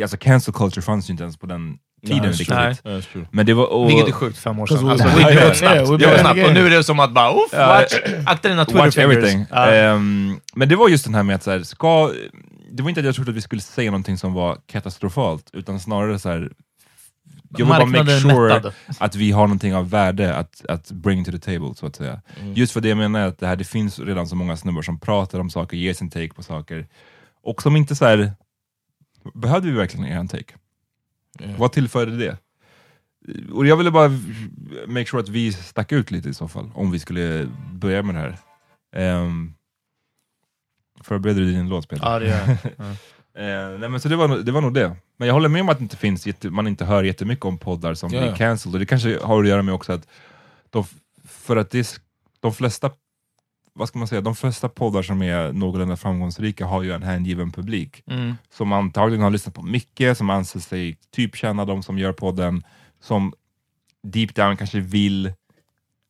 Speaker 3: alltså cancel culture fanns ju inte ens på den tiden
Speaker 2: that's
Speaker 3: riktigt.
Speaker 1: true. Nej.
Speaker 2: That's true.
Speaker 3: Men det var, och,
Speaker 1: Vilket är sjukt, fem år sedan.
Speaker 2: we're
Speaker 1: Alltså,
Speaker 2: back.
Speaker 1: we
Speaker 2: Yeah,
Speaker 1: grew
Speaker 2: yeah,
Speaker 1: up snabbt.
Speaker 2: we're
Speaker 1: Vi grew
Speaker 2: back
Speaker 1: up snabbt.
Speaker 2: again.
Speaker 1: Och nu är det som att bara, oof, watch, akta dina Twitter
Speaker 3: Watch
Speaker 1: fingers.
Speaker 3: everything.
Speaker 1: Ja.
Speaker 3: Ehm, men det var just den här med att så här, ska, det var inte att jag trodde att vi skulle säga någonting som var katastrofalt, utan snarare så här. Jag vill bara make
Speaker 1: Marknaden
Speaker 3: sure
Speaker 1: mättad.
Speaker 3: att vi har någonting av värde att, att bring to the table, så att säga.
Speaker 1: Mm.
Speaker 3: Just för det jag menar, är att det, här, det finns redan så många snubbar som pratar om saker, ger sin take på saker, och som inte så här. behövde vi verkligen er take? Vad tillförde det? Och jag ville bara make sure att vi stack ut lite i så fall, om vi skulle börja med det här. Um, förbereder du din låt Peter?
Speaker 1: Ja, det gör (laughs) jag.
Speaker 3: Eh, nej, men så det var, nog- det var nog det. Men jag håller med om att det inte finns jätte, man inte hör jättemycket om poddar som
Speaker 2: Ja.
Speaker 3: blir cancelled, och det kanske har att göra med också att de, för att det, är sk- de flesta vad ska man säga, de flesta poddar som är någorlunda framgångsrika har ju en hängiven publik,
Speaker 2: Mm.
Speaker 3: som antagligen har lyssnat på mycket, som anser sig typ känna de som gör podden, som deep down kanske vill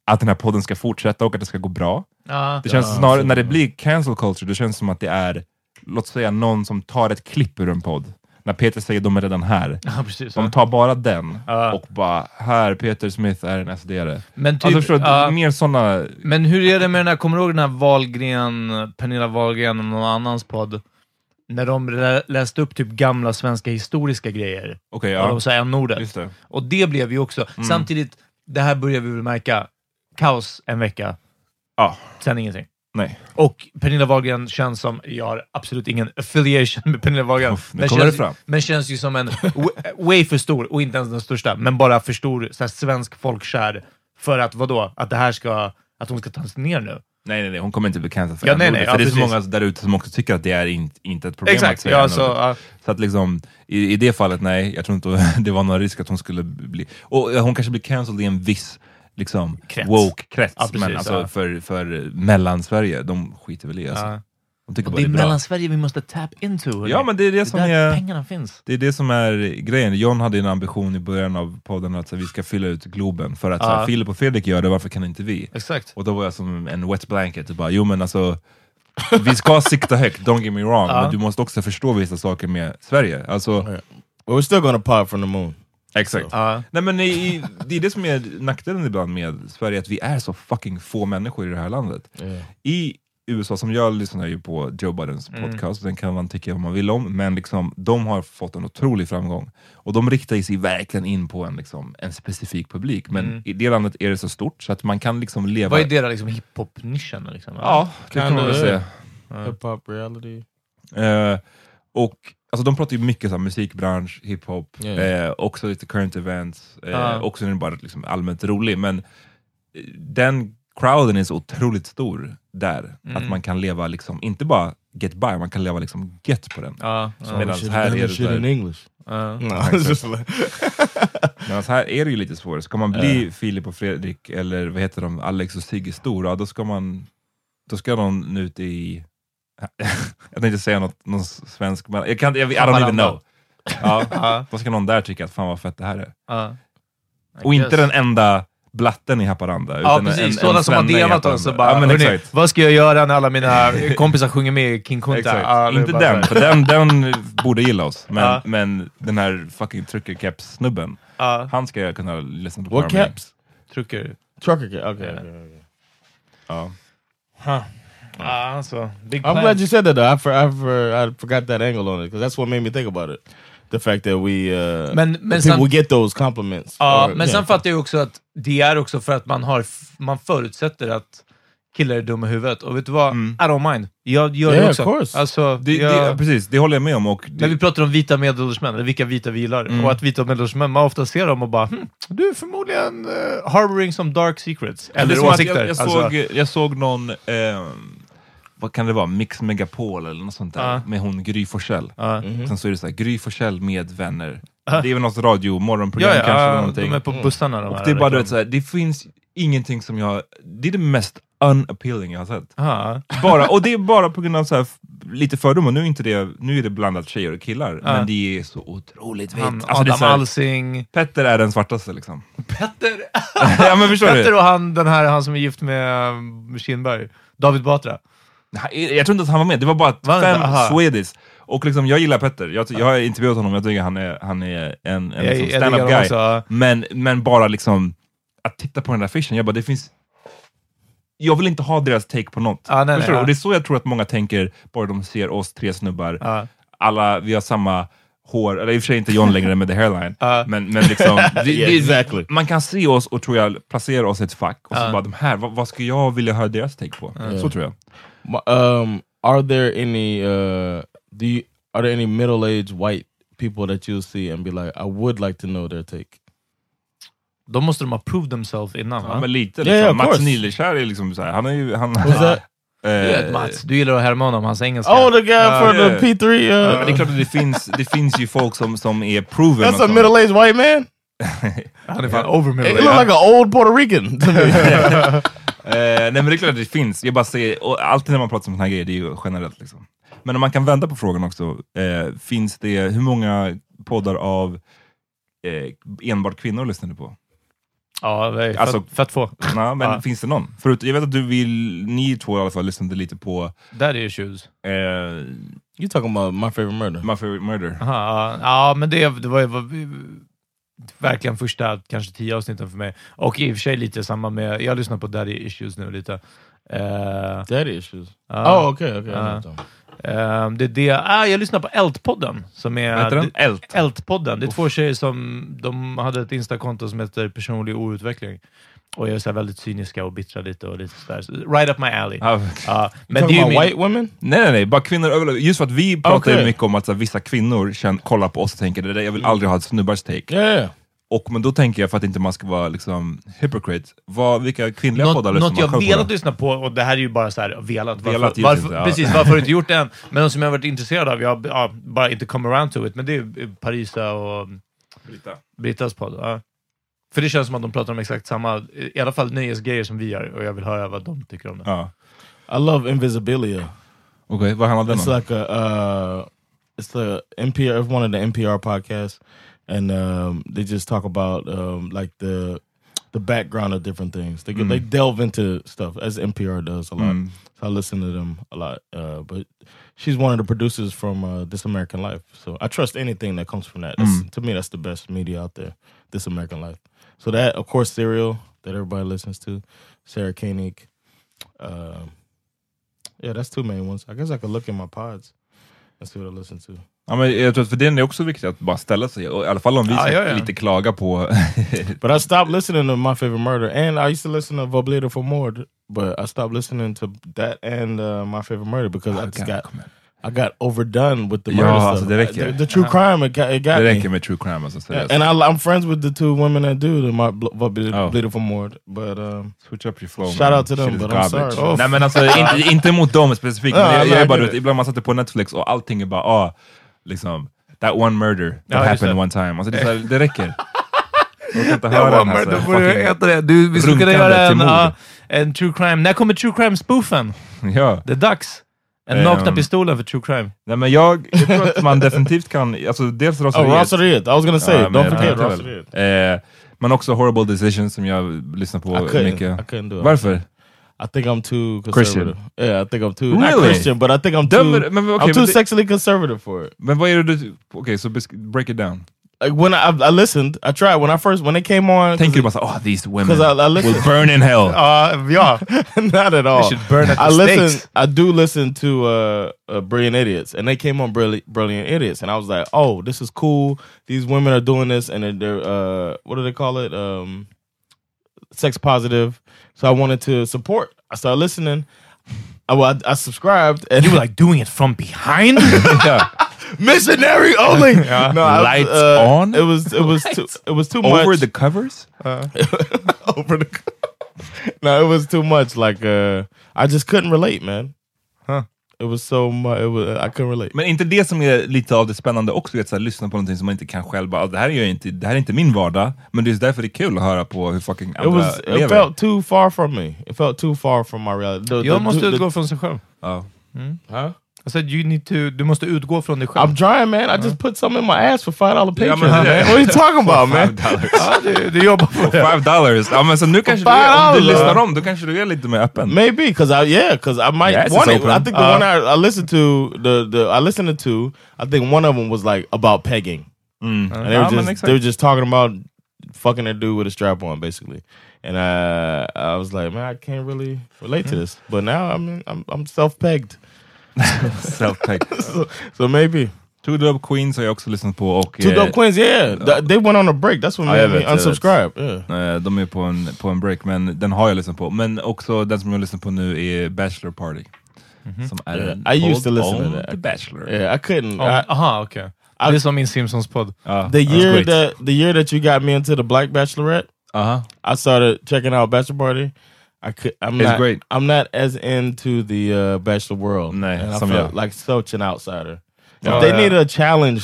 Speaker 3: att den här podden ska fortsätta och att det ska gå bra.
Speaker 1: Ja.
Speaker 3: Det känns snarare, när det blir cancel culture, det känns som att det är, låt säga någon som tar ett klipp ur en podd. När Peter säger de är redan här.
Speaker 1: Ja, precis.
Speaker 3: De tar bara den och bara, här, Peter Smith är en SD-are.
Speaker 1: Men typ,
Speaker 3: alltså förstår du,
Speaker 1: ja.
Speaker 3: mer sådana...
Speaker 1: Men hur är det med den här, kommer du ihåg den här Wahlgren, Pernilla Wahlgren och någon annans podd? När de lä- läste upp typ gamla svenska historiska grejer.
Speaker 3: Okej,
Speaker 1: Ja.
Speaker 3: ja.
Speaker 1: De sa n-ordet.
Speaker 3: Just det. Mm.
Speaker 1: Och det blev ju också, samtidigt, det här börjar vi väl märka, kaos en vecka,
Speaker 3: Ja,
Speaker 1: sen ingenting.
Speaker 3: nej.
Speaker 1: Och Pernilla Wahlgren känns som, jag har absolut ingen affiliation med Pernilla Wahlgren,
Speaker 3: Uff, nu
Speaker 1: men,
Speaker 3: kommer
Speaker 1: känns,
Speaker 3: det fram.
Speaker 1: men känns ju som en w- way för stor, och inte ens den största, men bara för stor så här, svensk folkkär för att vadå? Att det här ska, att hon ska tas ner nu?
Speaker 3: Nej, nej, nej, hon kommer inte bli cancelled för
Speaker 1: Ja,
Speaker 3: n-ordet,
Speaker 1: nej, nej,
Speaker 3: för
Speaker 1: ja,
Speaker 3: det är så
Speaker 1: precis.
Speaker 3: många där ute som också tycker att det är in, inte ett problem att
Speaker 1: Exakt,
Speaker 3: säga
Speaker 1: ja,
Speaker 3: n-ordet.
Speaker 1: så, ja.
Speaker 3: Så att liksom, i, i det fallet, nej, jag tror inte det var någon risk att (laughs) hon skulle bli... Och eh, hon kanske blir cancelled i en viss liksom,
Speaker 1: Krets.
Speaker 3: woke-krets,
Speaker 1: Ja, precis,
Speaker 3: men alltså,
Speaker 1: ja.
Speaker 3: för, för mellansverige, de skiter väl i alltså.
Speaker 1: Ja.
Speaker 3: De tycker
Speaker 1: Och
Speaker 3: bara
Speaker 1: det
Speaker 3: det
Speaker 1: är
Speaker 3: är bra.
Speaker 1: Mellansverige vi måste tap into. hörni.
Speaker 3: Ja, men det är det som
Speaker 1: där
Speaker 3: är-
Speaker 1: pengarna finns.
Speaker 3: Det är det som är grejen. John hade en ambition i början av podden att så här, vi ska fylla ut Globen. För att så
Speaker 1: Ja.
Speaker 3: här, Filip och Fredrik gör det, varför kan inte vi?
Speaker 1: Exakt.
Speaker 3: Och då var jag som en wet blanket och bara, jo men alltså vi ska sikta högt, don't get me wrong,
Speaker 1: Ja.
Speaker 3: men du måste också förstå vissa saker med Sverige. Alltså,
Speaker 2: But we're still gonna pop from the moon.
Speaker 3: Exakt.
Speaker 1: Ja.
Speaker 3: Nej, men i, i, det är det som är nackdelen ibland med Sverige, att vi är så fucking få människor i det här landet. I USA, som jag lyssnar ju på Joe Bidens
Speaker 1: Mm.
Speaker 3: podcast, den kan man tycka vad man vill om, men liksom, de har fått en otrolig framgång. Och de riktar ju sig verkligen in på en, liksom, en specifik publik, men i det landet är det så stort så att man kan liksom leva...
Speaker 1: Mm. Vad är deras liksom, hiphop-nischen? Liksom?
Speaker 3: Ja, det kan man väl
Speaker 2: Kinda.
Speaker 3: säga.
Speaker 2: Hip hop Uh, reality.
Speaker 3: Eh, och alltså, de pratar ju mycket så här, musikbransch, hiphop,
Speaker 2: Ja, ja.
Speaker 3: eh, också lite current events, eh,
Speaker 1: Ja.
Speaker 3: också är den bara liksom, allmänt rolig. Men eh, den crowden är så otroligt stor där, att man kan leva, liksom, inte bara get by, man kan leva liksom, get på den. Alltså,
Speaker 1: Ja, ja,
Speaker 3: Medan
Speaker 2: Should've
Speaker 3: här,
Speaker 2: done
Speaker 3: är det
Speaker 2: this
Speaker 3: så
Speaker 2: shit in
Speaker 3: här,
Speaker 2: English.
Speaker 1: ja.
Speaker 2: No, (laughs) it's just like,
Speaker 3: medans här är det ju lite svårare. Ska man bli
Speaker 1: Eh.
Speaker 3: Filip och Fredrik, eller vad heter de, Alex och Sigge stor, ja, då ska man då ska någon ut i... (laughs) jag tänkte säga något, någon svensk, men jag kan, jag, I don't even
Speaker 1: Haparanda.
Speaker 3: know. Ja.
Speaker 1: Ja,
Speaker 3: Då ska någon där tycka att fan vad fett det här är.
Speaker 1: ja.
Speaker 3: Och
Speaker 1: I
Speaker 3: inte
Speaker 1: guess.
Speaker 3: den enda blatten i Haparanda.
Speaker 1: Ja,
Speaker 3: utan
Speaker 1: precis.
Speaker 3: en- en
Speaker 1: Sådana som har
Speaker 3: svenne i
Speaker 1: delat
Speaker 3: Haparanda.
Speaker 1: oss och bara
Speaker 3: Ja, men
Speaker 1: "Hörni,
Speaker 3: exakt.
Speaker 1: Vad ska jag göra när alla mina kompisar sjunger med i King Kunta?
Speaker 3: exakt.
Speaker 1: Ja, det är
Speaker 3: inte
Speaker 1: bara så
Speaker 3: den,
Speaker 1: här.
Speaker 3: för den, den borde gilla oss. Men,
Speaker 1: Ja.
Speaker 3: men den här fucking truckercaps-snubben,
Speaker 1: Ja,
Speaker 3: han ska jag kunna lyssna på.
Speaker 2: What
Speaker 3: med.
Speaker 2: caps?
Speaker 1: trycker.
Speaker 2: Trucker. ca- Okay, okay, okay.
Speaker 3: Ja.
Speaker 1: Ja, alltså. Big
Speaker 2: I'm
Speaker 1: plans.
Speaker 2: glad you said that. Though. I for, I for, I forgot that angle on it because that's what made me think about it. The fact that we uh,
Speaker 1: Men-
Speaker 2: that
Speaker 1: men
Speaker 2: people
Speaker 1: sam-
Speaker 2: get those compliments.
Speaker 1: Ja,
Speaker 2: Or,
Speaker 1: men
Speaker 2: yeah.
Speaker 1: sen fattar jag också att det är också för att man, har, f- man förutsätter att killar är dumma i huvudet. Och vet du vad?
Speaker 3: Mm.
Speaker 1: I don't mind. Jag gör
Speaker 2: Yeah,
Speaker 1: det också.
Speaker 2: of course.
Speaker 1: Alltså,
Speaker 3: Det,
Speaker 1: jag,
Speaker 3: det, precis, det håller jag med om. Och det,
Speaker 1: när vi pratar om vita medelålders män, eller vilka vita vi gillar,
Speaker 3: Mm.
Speaker 1: och att vita medelålders män, man ofta ser dem och bara hm, du är förmodligen uh, harboring some dark secrets.
Speaker 3: det är
Speaker 1: Eller
Speaker 3: som att
Speaker 1: åsikter.
Speaker 3: Jag, jag,
Speaker 1: alltså,
Speaker 3: såg, jag såg någon, ehm, vad kan det vara, Mix Megapol eller något sånt där,
Speaker 1: Ja.
Speaker 3: med hon Gry Forssell. Mm-hmm.
Speaker 1: ja.
Speaker 3: Sen så är det så här, Gry Forssell med vänner. Det är väl något radiomorgonprogram
Speaker 1: ja, ja,
Speaker 3: kanske, eller
Speaker 1: ja,
Speaker 3: någonting.
Speaker 1: de är på bussarna de
Speaker 3: Och
Speaker 1: här.
Speaker 3: det är bara du
Speaker 1: reklam-
Speaker 3: vet, såhär, det finns ingenting som jag... Det är det mest unappealing jag har sett.
Speaker 1: Ja.
Speaker 3: Bara, och det är bara på grund av så här, f- lite fördomar. Nu är, inte det, nu är det blandat tjejer och killar, men det är så otroligt vitt.
Speaker 1: Han,
Speaker 3: Alltså, det är
Speaker 1: Adam
Speaker 3: så här,
Speaker 1: Alsing.
Speaker 3: Petter är den svartaste liksom. (laughs)
Speaker 1: Petter!
Speaker 3: ja men förstår
Speaker 1: Petter
Speaker 3: du?
Speaker 1: och han, den här, han som är gift med um, Kinberg. David Batra.
Speaker 3: Han- Jag tror inte att han var med, det var bara att
Speaker 1: Var det
Speaker 3: fem
Speaker 1: inte? Aha.
Speaker 3: Swedish. Och liksom, jag gillar Petter, jag, ty- jag har intervjuat honom, jag tycker han är, han är en, en liksom
Speaker 1: Jag- jag diggar
Speaker 3: stand-up
Speaker 1: honom
Speaker 3: guy.
Speaker 1: också, ja.
Speaker 3: Men, men bara liksom, att titta på den där affischen, jag bara det finns... Jag vill inte ha deras take på något.
Speaker 1: Ja, nej, nej,
Speaker 3: Förstår du?
Speaker 1: ja.
Speaker 3: Och det är så jag tror att många tänker, bara de ser oss tre snubbar,
Speaker 1: Ja.
Speaker 3: alla, vi har samma hår, eller i och för sig inte John längre med the hairline,
Speaker 1: Ja.
Speaker 3: men, men liksom...
Speaker 1: (laughs)
Speaker 3: det-
Speaker 2: Yeah,
Speaker 3: det-
Speaker 2: exactly.
Speaker 3: man kan se oss och tror jag placera oss i ett fack, och så bara de här, vad, vad ska jag vilja höra deras take på? Så tror jag.
Speaker 2: My- Um, are there any uh, do you, are there any middle aged white people that you'll see and be like, I would like to know their take?
Speaker 1: Då måste de ha proved themselves innan va?
Speaker 3: Ja, men lite.
Speaker 2: Ja,
Speaker 3: Liksom.
Speaker 2: ja, of
Speaker 3: Mats
Speaker 2: course.
Speaker 3: Nilekär är liksom såhär, han är ju... Han,
Speaker 2: Who's that?
Speaker 3: (laughs) Eh,
Speaker 1: Du vet, Mats, du gillar att härma honom, hans engelska.
Speaker 2: Oh, the guy
Speaker 1: Uh,
Speaker 2: for
Speaker 3: yeah.
Speaker 2: the P three.
Speaker 3: ja, men det är
Speaker 2: Uh,
Speaker 3: klart att det finns, det finns ju folk som, som är proven.
Speaker 2: that's
Speaker 3: och
Speaker 2: a
Speaker 3: sånt.
Speaker 2: middle aged white (laughs) man.
Speaker 1: han är fan over
Speaker 2: It
Speaker 1: middle
Speaker 2: look like an old Puerto Rican. to (laughs) me.
Speaker 3: (laughs) Eh, nej men det är klart att det finns. Jag bara säger, och alltid när man pratar om såna här grejer, det är ju generellt. Liksom. Men om man kan vända på frågan också. Eh, finns det, hur många poddar av eh, enbart kvinnor lyssnar du på?
Speaker 1: Ja, det är
Speaker 3: Alltså-
Speaker 1: fett, fett få.
Speaker 3: Nå, men
Speaker 1: Ja.
Speaker 3: finns det någon? Förut, jag vet att du vill, ni två i alla fall lyssnade lite på
Speaker 1: Där är ju tjus.
Speaker 3: eh,
Speaker 2: you talking about my favorite murder?
Speaker 3: My Favorite Murder.
Speaker 1: Aha, Ja, ja, men det, det var ju var, verkligen första kanske tio avsnitten för mig. Och i och för sig lite samma med... Jag lyssnar på Daddy Issues nu lite. Eh,
Speaker 2: Daddy issues.
Speaker 1: ja,
Speaker 2: oh, okay, okay. I know what you're talking about.
Speaker 1: eh, det är det. Ah, jag lyssnar på Ält-podden. Som är,
Speaker 3: Vad heter den? Ält.
Speaker 1: Ältpodden. Det är två tjejer som de hade ett instakonto som heter personlig outveckling. Och jag är så här väldigt cyniska och bittra lite och lite sådär. Så, Right up my alley.
Speaker 3: Ja.
Speaker 1: Ja, men det
Speaker 2: Talking
Speaker 1: är ju
Speaker 2: about
Speaker 1: min...
Speaker 2: white women?
Speaker 3: Nej, nej, nej. Bara kvinnor överlag. Just för att vi pratar ju
Speaker 2: Okej.
Speaker 3: mycket om att så här, vissa kvinnor känn, kollar på oss och tänker det där, jag vill aldrig ha ett snubbars take.
Speaker 2: Yeah, yeah.
Speaker 3: Och, men då tänker jag, för att inte man ska vara liksom, hypocrite, vad, vilka kvinnliga poddar
Speaker 1: Något,
Speaker 3: lyssnar
Speaker 1: något jag
Speaker 3: själv på
Speaker 1: velat
Speaker 3: då?
Speaker 1: lyssna på, och det här är ju bara så här, velat. Varför,
Speaker 3: Velat givetvis
Speaker 1: varför,
Speaker 3: inte, ja.
Speaker 1: Precis, varför har
Speaker 3: (laughs)
Speaker 1: du inte gjort det än? Men de som jag har varit intresserad av, jag har ja, bara inte come around to it, men det är ju Parisa och Brittas podd. Ja. För det känns som att de pratar om exakt samma, i alla fall nöjesgrejer som vi gör, och jag vill höra vad de tycker om det.
Speaker 3: Ja.
Speaker 2: I love Invisibilia.
Speaker 3: Okej, vad handlar den
Speaker 2: It's
Speaker 3: om?
Speaker 2: like a uh, it's the NPR it's one of the NPR podcasts, and um, they just talk about um, like the the background of different things. They get, they delve into stuff as NPR does a lot. So I listen to them a lot. Uh, but she's one of the producers from uh, This American Life, so I trust anything that comes from that. That's, To me, that's the best media out there. This American Life. So that, of course, Serial that everybody listens to, Sarah Koenig. Um, yeah, that's two main ones. I guess I could look in my pods and see what I listen to.
Speaker 3: Ja, men jag tror att för den är också viktigt att bara ställa sig, och i alla fall om vi
Speaker 1: Ja,
Speaker 3: ska
Speaker 1: ja, ja.
Speaker 3: lite klaga på... (laughs)
Speaker 2: But I stopped listening to My Favorite Murder, and I used to listen to Voblito for Mord, but I stopped listening to that and uh, My Favorite Murder because I just got I got overdone with the
Speaker 3: Ja,
Speaker 2: murder
Speaker 3: alltså,
Speaker 2: stuff.
Speaker 3: det räcker.
Speaker 2: The, the true crime, it got, it got
Speaker 3: det
Speaker 2: me.
Speaker 3: räcker med true crime alltså, seriöst.
Speaker 2: And I, I'm friends with the two women that do the My Bl-
Speaker 3: Oh.
Speaker 2: Voblito for Mord, but um,
Speaker 3: Switch up your flow.
Speaker 2: Shout
Speaker 3: man.
Speaker 2: out to them,
Speaker 3: Shit is
Speaker 2: but I'm
Speaker 3: garbage.
Speaker 2: sorry. Oh.
Speaker 3: Nej men alltså, inte, inte mot dem specifikt, men
Speaker 2: Ja,
Speaker 3: jag,
Speaker 2: nej,
Speaker 3: jag är bara,
Speaker 2: jag
Speaker 3: du
Speaker 2: vet.
Speaker 3: vet, ibland man sätter på Netflix och allting är bara, ah, liksom, that one murder that
Speaker 1: Ja, just
Speaker 3: happened
Speaker 1: det.
Speaker 3: one time. Alltså, det, är så här, det räcker. Jag
Speaker 2: (laughs)
Speaker 3: kan inte
Speaker 1: Ja,
Speaker 3: höra den
Speaker 1: men
Speaker 3: alltså.
Speaker 1: då får du
Speaker 3: Fucking-
Speaker 1: äta det. Du, vi skulle kunna
Speaker 3: runkande
Speaker 1: göra en,
Speaker 3: till mord.
Speaker 1: ja, en true crime. När kommer true crime-spoofen?
Speaker 3: Ja.
Speaker 1: Det är dags. En
Speaker 3: Ehm.
Speaker 1: nakna pistolen för true crime.
Speaker 3: Nej men jag, jag tror att man definitivt kan, alltså dels
Speaker 2: oh,
Speaker 3: raseriet.
Speaker 2: Rosariet. I was gonna say,
Speaker 3: Ja, men
Speaker 2: don't
Speaker 3: jag
Speaker 2: forget
Speaker 3: tycker väl.
Speaker 2: Rosariet.
Speaker 3: Eh, men också Horrible Decisions som jag lyssnar på
Speaker 2: I couldn't,
Speaker 3: mycket.
Speaker 2: I couldn't do it.
Speaker 3: Varför?
Speaker 2: I think I'm too
Speaker 3: Christian.
Speaker 2: conservative. Yeah, I think I'm too not
Speaker 3: Really?
Speaker 2: Christian, but I think I'm
Speaker 3: Dumb-
Speaker 2: too.
Speaker 3: men- okay,
Speaker 2: I'm too
Speaker 3: but the-
Speaker 2: sexually conservative for it.
Speaker 3: Men vad är det du, okej så besk- break it down.
Speaker 2: Like when I, I listened, I tried when I first when it came on.
Speaker 3: Tänker du bara såhär, oh these women
Speaker 2: 'Cause I- I listen-
Speaker 3: will burn
Speaker 2: (laughs)
Speaker 3: in hell.
Speaker 2: Uh, yeah, (laughs) not at all.
Speaker 1: should burn at the
Speaker 2: I
Speaker 1: stakes.
Speaker 2: listen. I do listen to uh, uh, Brilliant Idiots, and they came on Brilliant, Brilliant Idiots, and I was like, "Oh, this is cool. These women are doing this, and they're, they're uh, what do they call it? Um, sex positive." So I wanted to support. I started listening. I, well, I, I subscribed, and
Speaker 1: You were like doing it from
Speaker 3: (laughs)
Speaker 1: behind?
Speaker 2: (laughs) missionary only. No, I was,
Speaker 3: Lights
Speaker 2: uh,
Speaker 3: on?
Speaker 2: It was it was too it was too much
Speaker 3: Over the covers?
Speaker 2: (laughs) over the. no, it was too much. Like uh, I just couldn't relate, man.
Speaker 3: Huh.
Speaker 2: It was so much. It was I couldn't relate.
Speaker 3: Men inte det som är lite av det spännande också, att så här, lyssna på någonting som man inte kan själv. Bara, "Ah, det, här är ju inte, det här är inte min vardag, men det är därför det är kul att höra på hur fucking
Speaker 2: It
Speaker 3: andra
Speaker 2: was.
Speaker 3: lever.
Speaker 2: It felt too far from me. It felt too far from my reality. The- the-
Speaker 1: Jag måste
Speaker 2: the- the-
Speaker 1: utgå från sig själv. Mm.
Speaker 3: Ja.
Speaker 2: Huh?
Speaker 1: Jag sa, you need to, du måste utgå från dig själv.
Speaker 2: I'm trying, man.
Speaker 3: Uh-huh.
Speaker 2: I just put something in my ass for five dollar
Speaker 3: Ja,
Speaker 2: Patreon.
Speaker 3: men- (laughs)
Speaker 2: man. What are you talking about,
Speaker 3: Five
Speaker 2: man? (laughs)
Speaker 3: dollars.
Speaker 1: Ja, du, du jobbar på det.
Speaker 3: (laughs) Five dollars! Ja men så nu kanske du,
Speaker 2: Five
Speaker 3: är- om du
Speaker 2: dollars.
Speaker 3: lyssnar om, då kanske du är lite mer öppen.
Speaker 2: (laughs) Maybe because I yeah because I might
Speaker 3: Yes,
Speaker 2: want
Speaker 3: it's
Speaker 2: it.
Speaker 3: open.
Speaker 2: I think the one I, I listened to the the I listened to two. I think one of them was like about pegging, and they
Speaker 3: Ah,
Speaker 2: were
Speaker 3: men
Speaker 2: just
Speaker 3: exakt.
Speaker 2: they were just talking about fucking a dude with a strap on basically. And I I was like, man, I can't really relate to this. But now I'm I'm I'm self pegged, (laughs)
Speaker 3: Self-take.
Speaker 2: so maybe
Speaker 3: Two Dope Queens har jag också lyssnat på och
Speaker 2: two
Speaker 3: eh,
Speaker 2: dope queens. Yeah, th- they went on a break. That's what
Speaker 3: I
Speaker 2: made
Speaker 3: have
Speaker 2: me
Speaker 3: it, I have it.
Speaker 2: unsubscribe. Yeah.
Speaker 3: eh, de är på en, på en break, men den har jag lyssnat på. Men också den som jag lyssnar på nu är Bachelor Party. Som är en
Speaker 2: Mm-hmm. I used to
Speaker 3: podd
Speaker 2: listen to
Speaker 3: om
Speaker 2: that.
Speaker 3: The Bachelor.
Speaker 2: Yeah, I couldn't.
Speaker 1: Om-
Speaker 2: I-
Speaker 1: Aha, okej. Det är som min Simpsons-podd.
Speaker 3: Ja,
Speaker 2: the
Speaker 3: that's
Speaker 2: year
Speaker 3: great.
Speaker 2: that the year that you got me into the Black Bachelorette,
Speaker 3: Aha.
Speaker 2: I started checking out Bachelor Party. I could. I'm
Speaker 3: It's
Speaker 2: not.
Speaker 3: great.
Speaker 2: I'm not as into the uh, Bachelor world.
Speaker 3: Nah,
Speaker 2: and I
Speaker 3: some
Speaker 2: felt
Speaker 3: yeah.
Speaker 2: like such an outsider.
Speaker 3: Oh,
Speaker 2: if they
Speaker 3: yeah.
Speaker 2: needed a challenge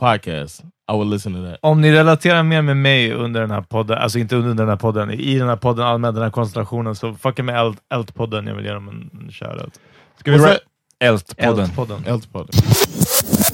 Speaker 2: podcast, I would listen to that.
Speaker 1: Om ni relaterar mer med mig under den här podden, alltså inte under den här podden, i den här podden, allmänt den här konstellationen, så fucka med Elt- Elt-podden. Jag vill ge dem en en shoutout.
Speaker 3: Ska vi
Speaker 2: What's
Speaker 3: ra-
Speaker 2: that?
Speaker 3: Elt-podden.
Speaker 1: Elt-podden.
Speaker 2: Else pod.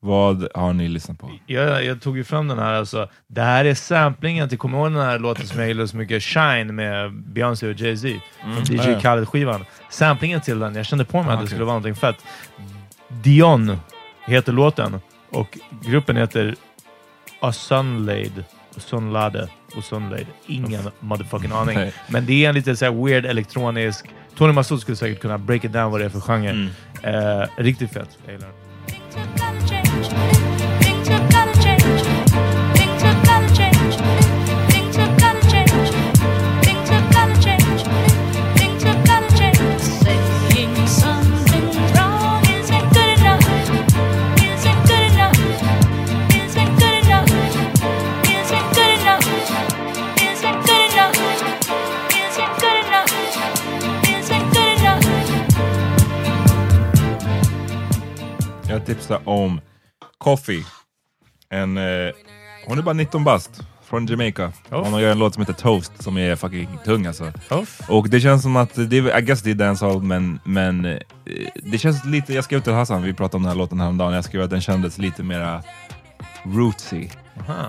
Speaker 3: Vad har ni lyssnat på?
Speaker 1: Jag, jag tog ju fram den här, alltså. Det här är samplingen till, kommer du ihåg den här låten som jag gillar så mycket? Shine med Beyoncé och Jay-Z. DJ
Speaker 2: Mm. Ja, ja.
Speaker 1: Khaled-skivan. Samplingen till den, jag kände på mig att det skulle vara någonting fett. Dion heter låten och gruppen heter A Sunlaid, Sunlade och Sunlaid. Ingen motherfucking aning.
Speaker 3: Nej.
Speaker 1: Men det är en lite så här weird elektronisk... Tony Massoud skulle säkert kunna break it down vad det är för genre.
Speaker 2: Mm.
Speaker 1: Eh, riktigt fett. Jag gillar den.
Speaker 3: Jag tipsar om Coffee. En, eh, hon är bara 19 bast. från Jamaica.
Speaker 1: Oh.
Speaker 3: Han har gjort en låt som heter Toast som är fucking tung alltså.
Speaker 1: Oh.
Speaker 3: Och det känns som att, det, är- I guess det är dancehall, men, men eh, det känns lite, jag skrev till Hassan, vi pratade om den här låten häromdagen, jag skrev att den kändes lite mera rootsy.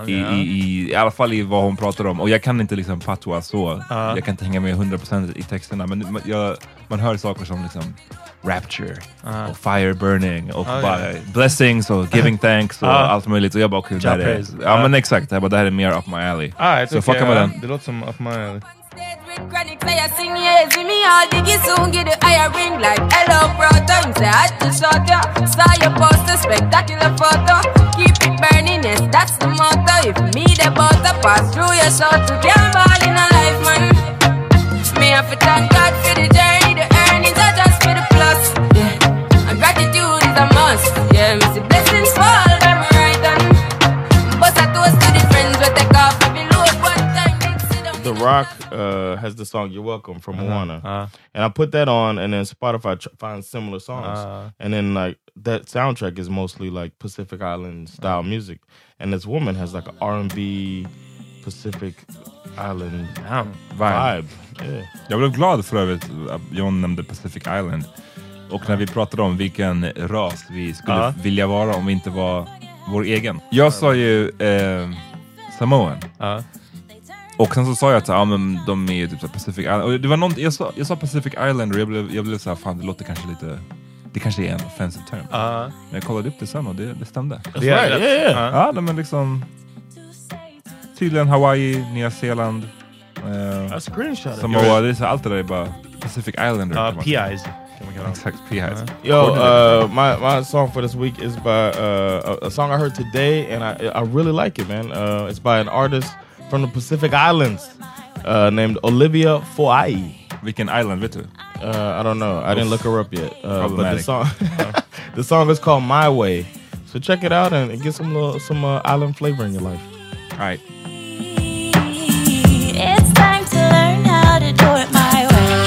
Speaker 3: I, i, i, I alla fall i vad hon pratar om. Och jag kan inte liksom patwa så. Jag kan inte hänga med 100% i texterna. Men ma- jag, man hör saker som liksom rapture, och fire burning, och
Speaker 1: Ah,
Speaker 3: bara blessings och giving thanks och
Speaker 1: Ah.
Speaker 3: allt möjligt. Och jag bara, okej, det här är...
Speaker 1: praise.
Speaker 3: Ja
Speaker 1: Ah.
Speaker 3: men exakt, jag bara, det här är mer up my alley.
Speaker 1: Ah, jag
Speaker 3: så
Speaker 1: tycker-
Speaker 3: fucka med den.
Speaker 1: Det låter som Up My uh, Alley.
Speaker 4: The Rock uh, has the song "You're Welcome" from
Speaker 3: Uh-huh.
Speaker 4: Moana,
Speaker 1: uh.
Speaker 4: and I put that on, and then Spotify tr- finds similar songs,
Speaker 1: Uh.
Speaker 4: and then like that soundtrack is mostly like Pacific Island style music, and this woman has like an R and B Pacific Island vibe. Yeah.
Speaker 3: Jag blev glad för övrigt att John nämnde Pacific Island. Och när vi pratade om vilken ras vi skulle
Speaker 1: Ja.
Speaker 3: vilja vara om vi inte var vår egen. Jag sa ju eh, Samoan.
Speaker 1: Ja.
Speaker 3: Och sen så sa jag att ah, men de är ju typ så här Pacific Island. Och det var någon, jag, sa, jag sa Pacific Island och jag blev, jag blev så här, fan det låter kanske lite... Det kanske är en offensive term.
Speaker 1: Ja.
Speaker 3: Men jag kollade upp det sen och det, det stämde.
Speaker 1: Det är
Speaker 4: right,
Speaker 1: rätt.
Speaker 4: yeah, yeah.
Speaker 1: Ja.
Speaker 3: Ja, nej, men liksom... Tydligen Hawaii, Nya Zeeland. eh,
Speaker 4: I screenshot it.
Speaker 3: Samoa, det är så allt det där är bara Pacific Islander.
Speaker 1: Ja,
Speaker 3: kan man säga.
Speaker 1: PIs kan man kalla dem.
Speaker 3: Exakt, P-Highs.
Speaker 4: Yo,
Speaker 2: eh,
Speaker 4: uh, my my song for this week is by uh, a, a song I heard today, and I I really like it, man. Uh, it's by an artist from the Pacific Islands uh, named Olivia Foai.
Speaker 3: Vilken island, vet du?
Speaker 4: Uh, I don't know. I didn't look her up yet. Uh, but the
Speaker 3: Problematic.
Speaker 4: song, (laughs) the song is called "My Way." So check it out and get some little, some uh, island flavor in your life.
Speaker 3: All right.
Speaker 5: It's time to learn how to do it my way.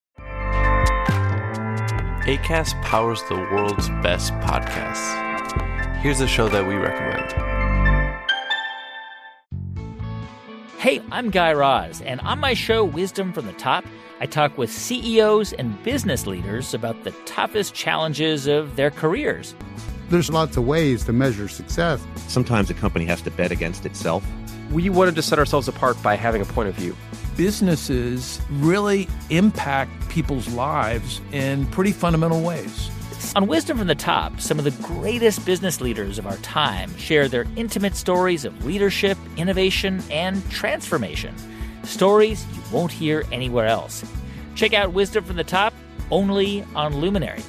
Speaker 2: ACAST powers the world's best podcasts. Here's a show that we recommend.
Speaker 5: Hey, I'm Guy Raz, and on my show, Wisdom from the Top, I talk with CEOs and business leaders about the toughest challenges of their careers.
Speaker 2: There's lots of ways to measure success.
Speaker 6: Sometimes a company has to bet against itself.
Speaker 2: We wanted to set ourselves apart by having a point of view.
Speaker 5: Businesses really impact people's lives in pretty fundamental ways.
Speaker 2: On Wisdom from the Top, some of the greatest business leaders of our time share their intimate stories of leadership, innovation, and transformation. Stories you won't hear anywhere else. Check out Wisdom from the Top only on Luminary.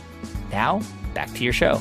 Speaker 7: Now, back to your show.